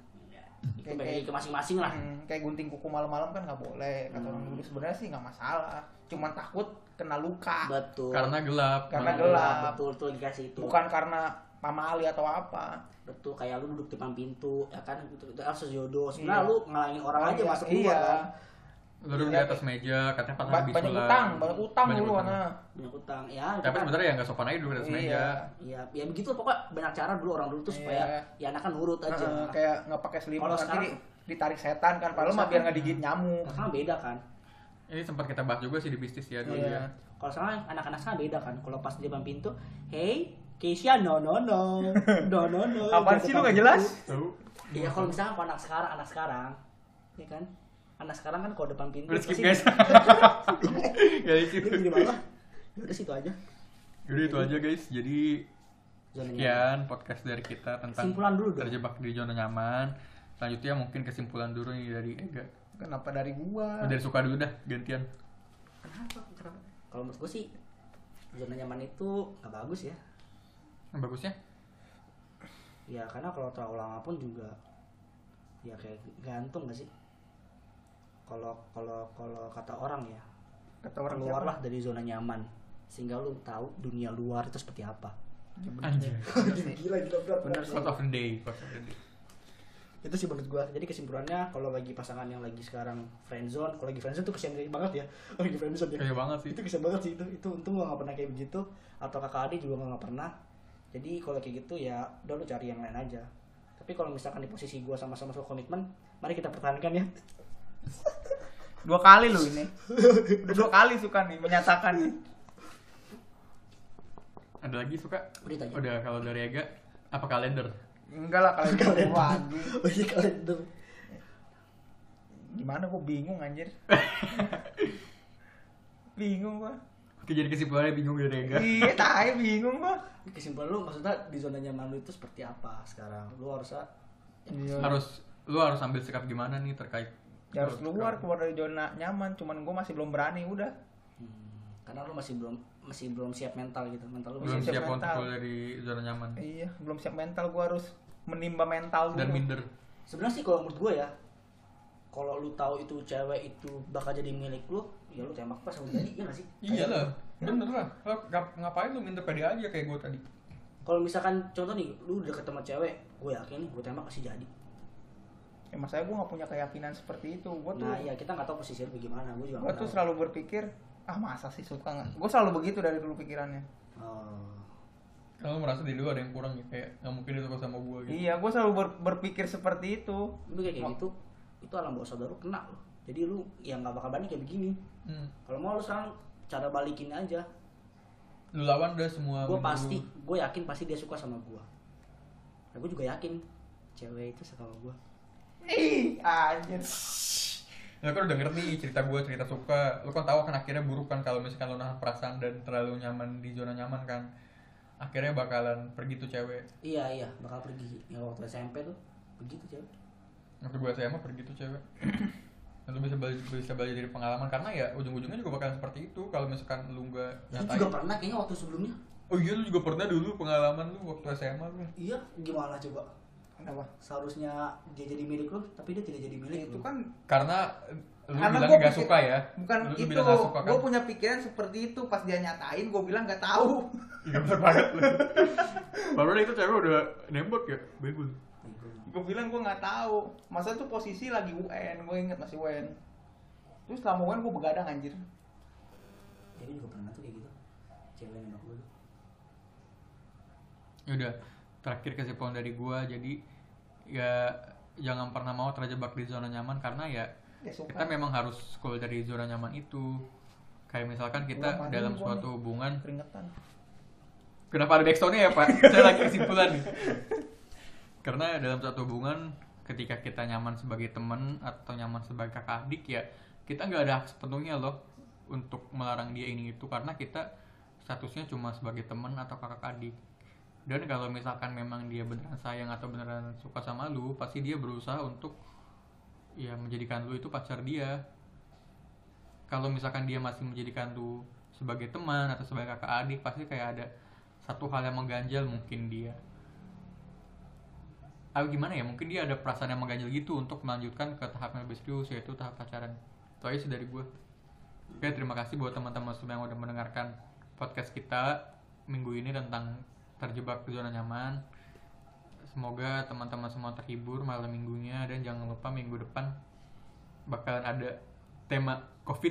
Kayak- bagi kayak- ke masing-masing lah Hmm, kayak gunting kuku malam-malam kan nggak boleh kata orang Hmm. dulu sebenarnya sih nggak masalah cuman takut kena luka betul Ya, Karena gelap. Karena Nah, gelap. betul betul dikasih itu bukan karena pamali atau apa betul kayak lu duduk depan pintu ya kan itu itu harus jodoh sebenarnya lu ngalangin orang aja Iya, masuk keluar iya. kan Lu duduk di atas meja, katanya patah Ba- habis banyak tulang. utang banyak utang Banyak dulu utang. karena banyak utang ya itu Tapi kan. sebenarnya ya nggak sopan aja duduk di atas meja. iya ya ya begitu pokoknya banyak cara dulu orang dulu tuh supaya ya anak kan nurut aja Heeh, kayak nggak pakai selimut Kalau nanti sekarang- di- ditarik setan kan padahal mah biar nggak digigit nyamuk Nah, sekarang beda kan Ini sempat kita bahas juga sih di bisnis ya dulu Iya. ya. kalau sekarang anak-anak sekarang beda kan kalau pas di depan pintu hey Keisha no no no no no no Apaan sih gitu? lu gak jelas? Tahu. Iya kalau misalnya kalau anak sekarang anak sekarang, ya kan? Anak sekarang kan kalau depan pintu Udah skip pasti- guys. ya itu. Ini gini banget. Ya udah situ aja. Jadi itu aja guys. Jadi Iya. Zona nyaman. sekian podcast dari kita tentang Kesimpulan dulu dong. terjebak di zona nyaman. Selanjutnya mungkin kesimpulan dulu nih dari Ega. Kenapa dari gua? Dari suka dulu dah gantian. Kenapa? Kenapa? Kalau menurut gue sih zona nyaman itu nggak bagus ya. Yang Bagusnya Ya karena kalau terlalu lama pun juga ya kayak gantung gak sih? Kalau kalau kalau kata orang ya Kata orang siapa? keluarlah dari zona nyaman sehingga lu tahu dunia luar itu seperti apa. Ya, anjir. Gila gila berat. Bener sih. Quote of the day, quote of the day. itu sih menurut gua jadi kesimpulannya kalau bagi pasangan yang lagi sekarang friendzone kalau lagi friendzone tuh kesian banget ya kalau lagi friendzone ya Kayak banget sih. itu kesian banget sih itu itu untung gua nggak pernah kayak begitu atau kakak adik juga gua nggak pernah jadi kalau kayak gitu ya udah lu cari yang lain aja tapi kalau misalkan di posisi gua sama-sama soal komitmen mari kita pertahankan ya Dua kali lu ini. Udah dua kali suka nih menyatakan nih. Ada lagi suka? Udah itu aja. Udah kalau dari Ega apa kalender? Enggak lah kalau itu Kalender. gua anjing. bagi kalender Gimana gua bingung anjir. bingung gua. Oke jadi kesimpulannya bingung dari Ega. Iya, tai bingung gua. kesimpulan lu maksudnya di zona nyaman lu itu seperti apa sekarang lu harusnya Harus lu harus ambil sikap gimana nih terkait Ya harus keluar keluar dari zona nyaman, cuman gua masih belum berani udah. hmm, karena lu masih belum masih belum siap mental gitu mental lu belum masih siap siap untuk mental. keluar dari zona nyaman Iya, belum siap mental gua harus menimba mental dulu. dan minder sebenarnya sih kalau menurut gue ya kalau lu tahu itu cewek itu bakal jadi milik lu ya lu tembak pas udah jadi ya nggak sih iya lah Ya. bener lah lo ngapain lu minder pede aja kayak gue tadi kalau misalkan contoh nih lu udah ketemu cewek gue yakin gue tembak pasti jadi Ya masalahnya gua nggak punya keyakinan seperti itu. Gua tuh nah ya kita nggak tahu posisi lu gimana gue gua juga nggak tuh tahu. selalu berpikir ah masa sih suka nggak gue selalu begitu dari dulu pikirannya Oh. kalau merasa di lu ada yang kurang ya kayak nggak mungkin dia suka sama gue gitu iya gue selalu ber- berpikir seperti itu tapi kayak kayak gitu itu alam bawah saudara lu kena lu jadi lu ya nggak bakal berani kayak begini Hmm. kalau mau lu sekarang cara balikin aja lu lawan udah semua gue minder pasti lu. gue yakin pasti dia suka sama gue nah, gue juga yakin cewek itu suka sama gue ih anjir ya kan udah ngerti cerita gue cerita suka lu kan tahu kan akhirnya buruk kan kalau misalkan lu nahan perasaan dan terlalu nyaman di zona nyaman kan akhirnya bakalan pergi tuh cewek iya iya bakal pergi ya waktu SMP tuh begitu cewek waktu gue SMA pergi tuh cewek Dan lu bisa belajar bisa belajar dari pengalaman karena ya ujung-ujungnya juga bakalan seperti itu kalau misalkan lu nggak Lu nyatain juga pernah kayaknya waktu sebelumnya. Oh iya lu juga pernah dulu pengalaman lu waktu SMA lu. Iya, gimana coba? kenapa Seharusnya dia jadi milik lu, tapi dia tidak jadi milik itu lu. kan Karena lu Karena bilang gua gak pikir- suka ya. bukan lu, itu Lu bilang gak suka kan? gue punya pikiran seperti itu pas dia nyatain gue bilang nggak tahu Iya bener banget lu. Baru itu cewek udah nembak ya. Bego lu. gue bilang gue nggak tahu masa tuh posisi lagi UN gue inget masih UN terus selama UN gue begadang anjir Dia juga pernah tuh kayak gitu. Cewek nembak lu. Ya udah terakhir kesimpulan dari gua jadi ya jangan pernah mau terjebak di zona nyaman karena ya ya suka kita memang harus keluar dari zona nyaman itu. Kayak misalkan Gua kita mandi nih, dalam gua suatu nih. hubungan keringetan Kenapa ada backstone-nya ya Pak? Saya lagi kesimpulan nih. Karena dalam satu hubungan ketika kita nyaman sebagai teman atau nyaman sebagai kakak adik ya kita nggak ada hak sepenuhnya loh untuk melarang dia ini itu karena kita statusnya cuma sebagai teman atau kakak adik dan kalau misalkan memang dia beneran sayang atau beneran suka sama lu pasti dia berusaha untuk ya menjadikan lu itu pacar dia kalau misalkan dia masih menjadikan lu sebagai teman atau sebagai kakak adik pasti kayak ada satu hal yang mengganjal mungkin dia ah gimana ya mungkin dia ada perasaan yang mengganjal gitu untuk melanjutkan ke tahap yang lebih serius yaitu tahap pacaran itu aja sih dari gue oke terima kasih buat teman-teman semua yang udah mendengarkan podcast kita minggu ini tentang terjebak di zona nyaman semoga teman-teman semua terhibur malam minggunya dan jangan lupa minggu depan bakalan ada tema covid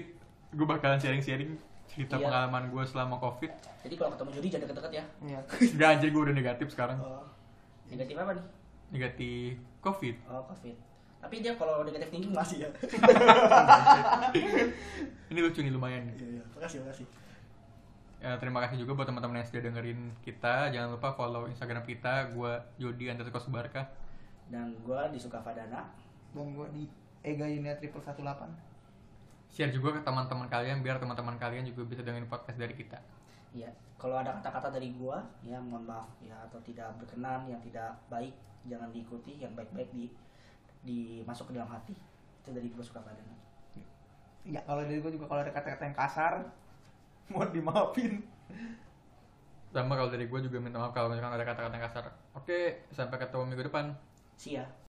gue bakalan sharing-sharing cerita Iya. pengalaman gue selama covid Jadi kalau ketemu judi jangan deket-deket ya. Iya. Gak anjir gue udah negatif sekarang Oh. Negatif apa nih? Negatif covid Oh, Covid. Tapi dia kalau negatif thinking masih ya. Ini lucu nih lumayan nih Iya, iya. Makasih, makasih. Eh, terima kasih juga buat teman-teman yang sudah dengerin kita. Jangan lupa follow Instagram kita. Gue Yudi underscore Subarka. Dan gua di Sukavadana. dan gue di Ega Yunia triple 18 Share juga ke teman-teman kalian biar teman-teman kalian juga bisa dengerin podcast dari kita. Iya, kalau ada kata-kata dari gua, ya mohon maaf ya atau tidak berkenan, yang tidak baik jangan diikuti, yang baik-baik di dimasuk ke dalam hati. Itu dari gua suka badan. ya kalau dari gue juga kalau ada kata-kata yang kasar mau dimaafin Sama kalau dari gue juga minta maaf kalau misalkan ada kata-kata yang kasar. Oke, sampai ketemu minggu depan. See ya.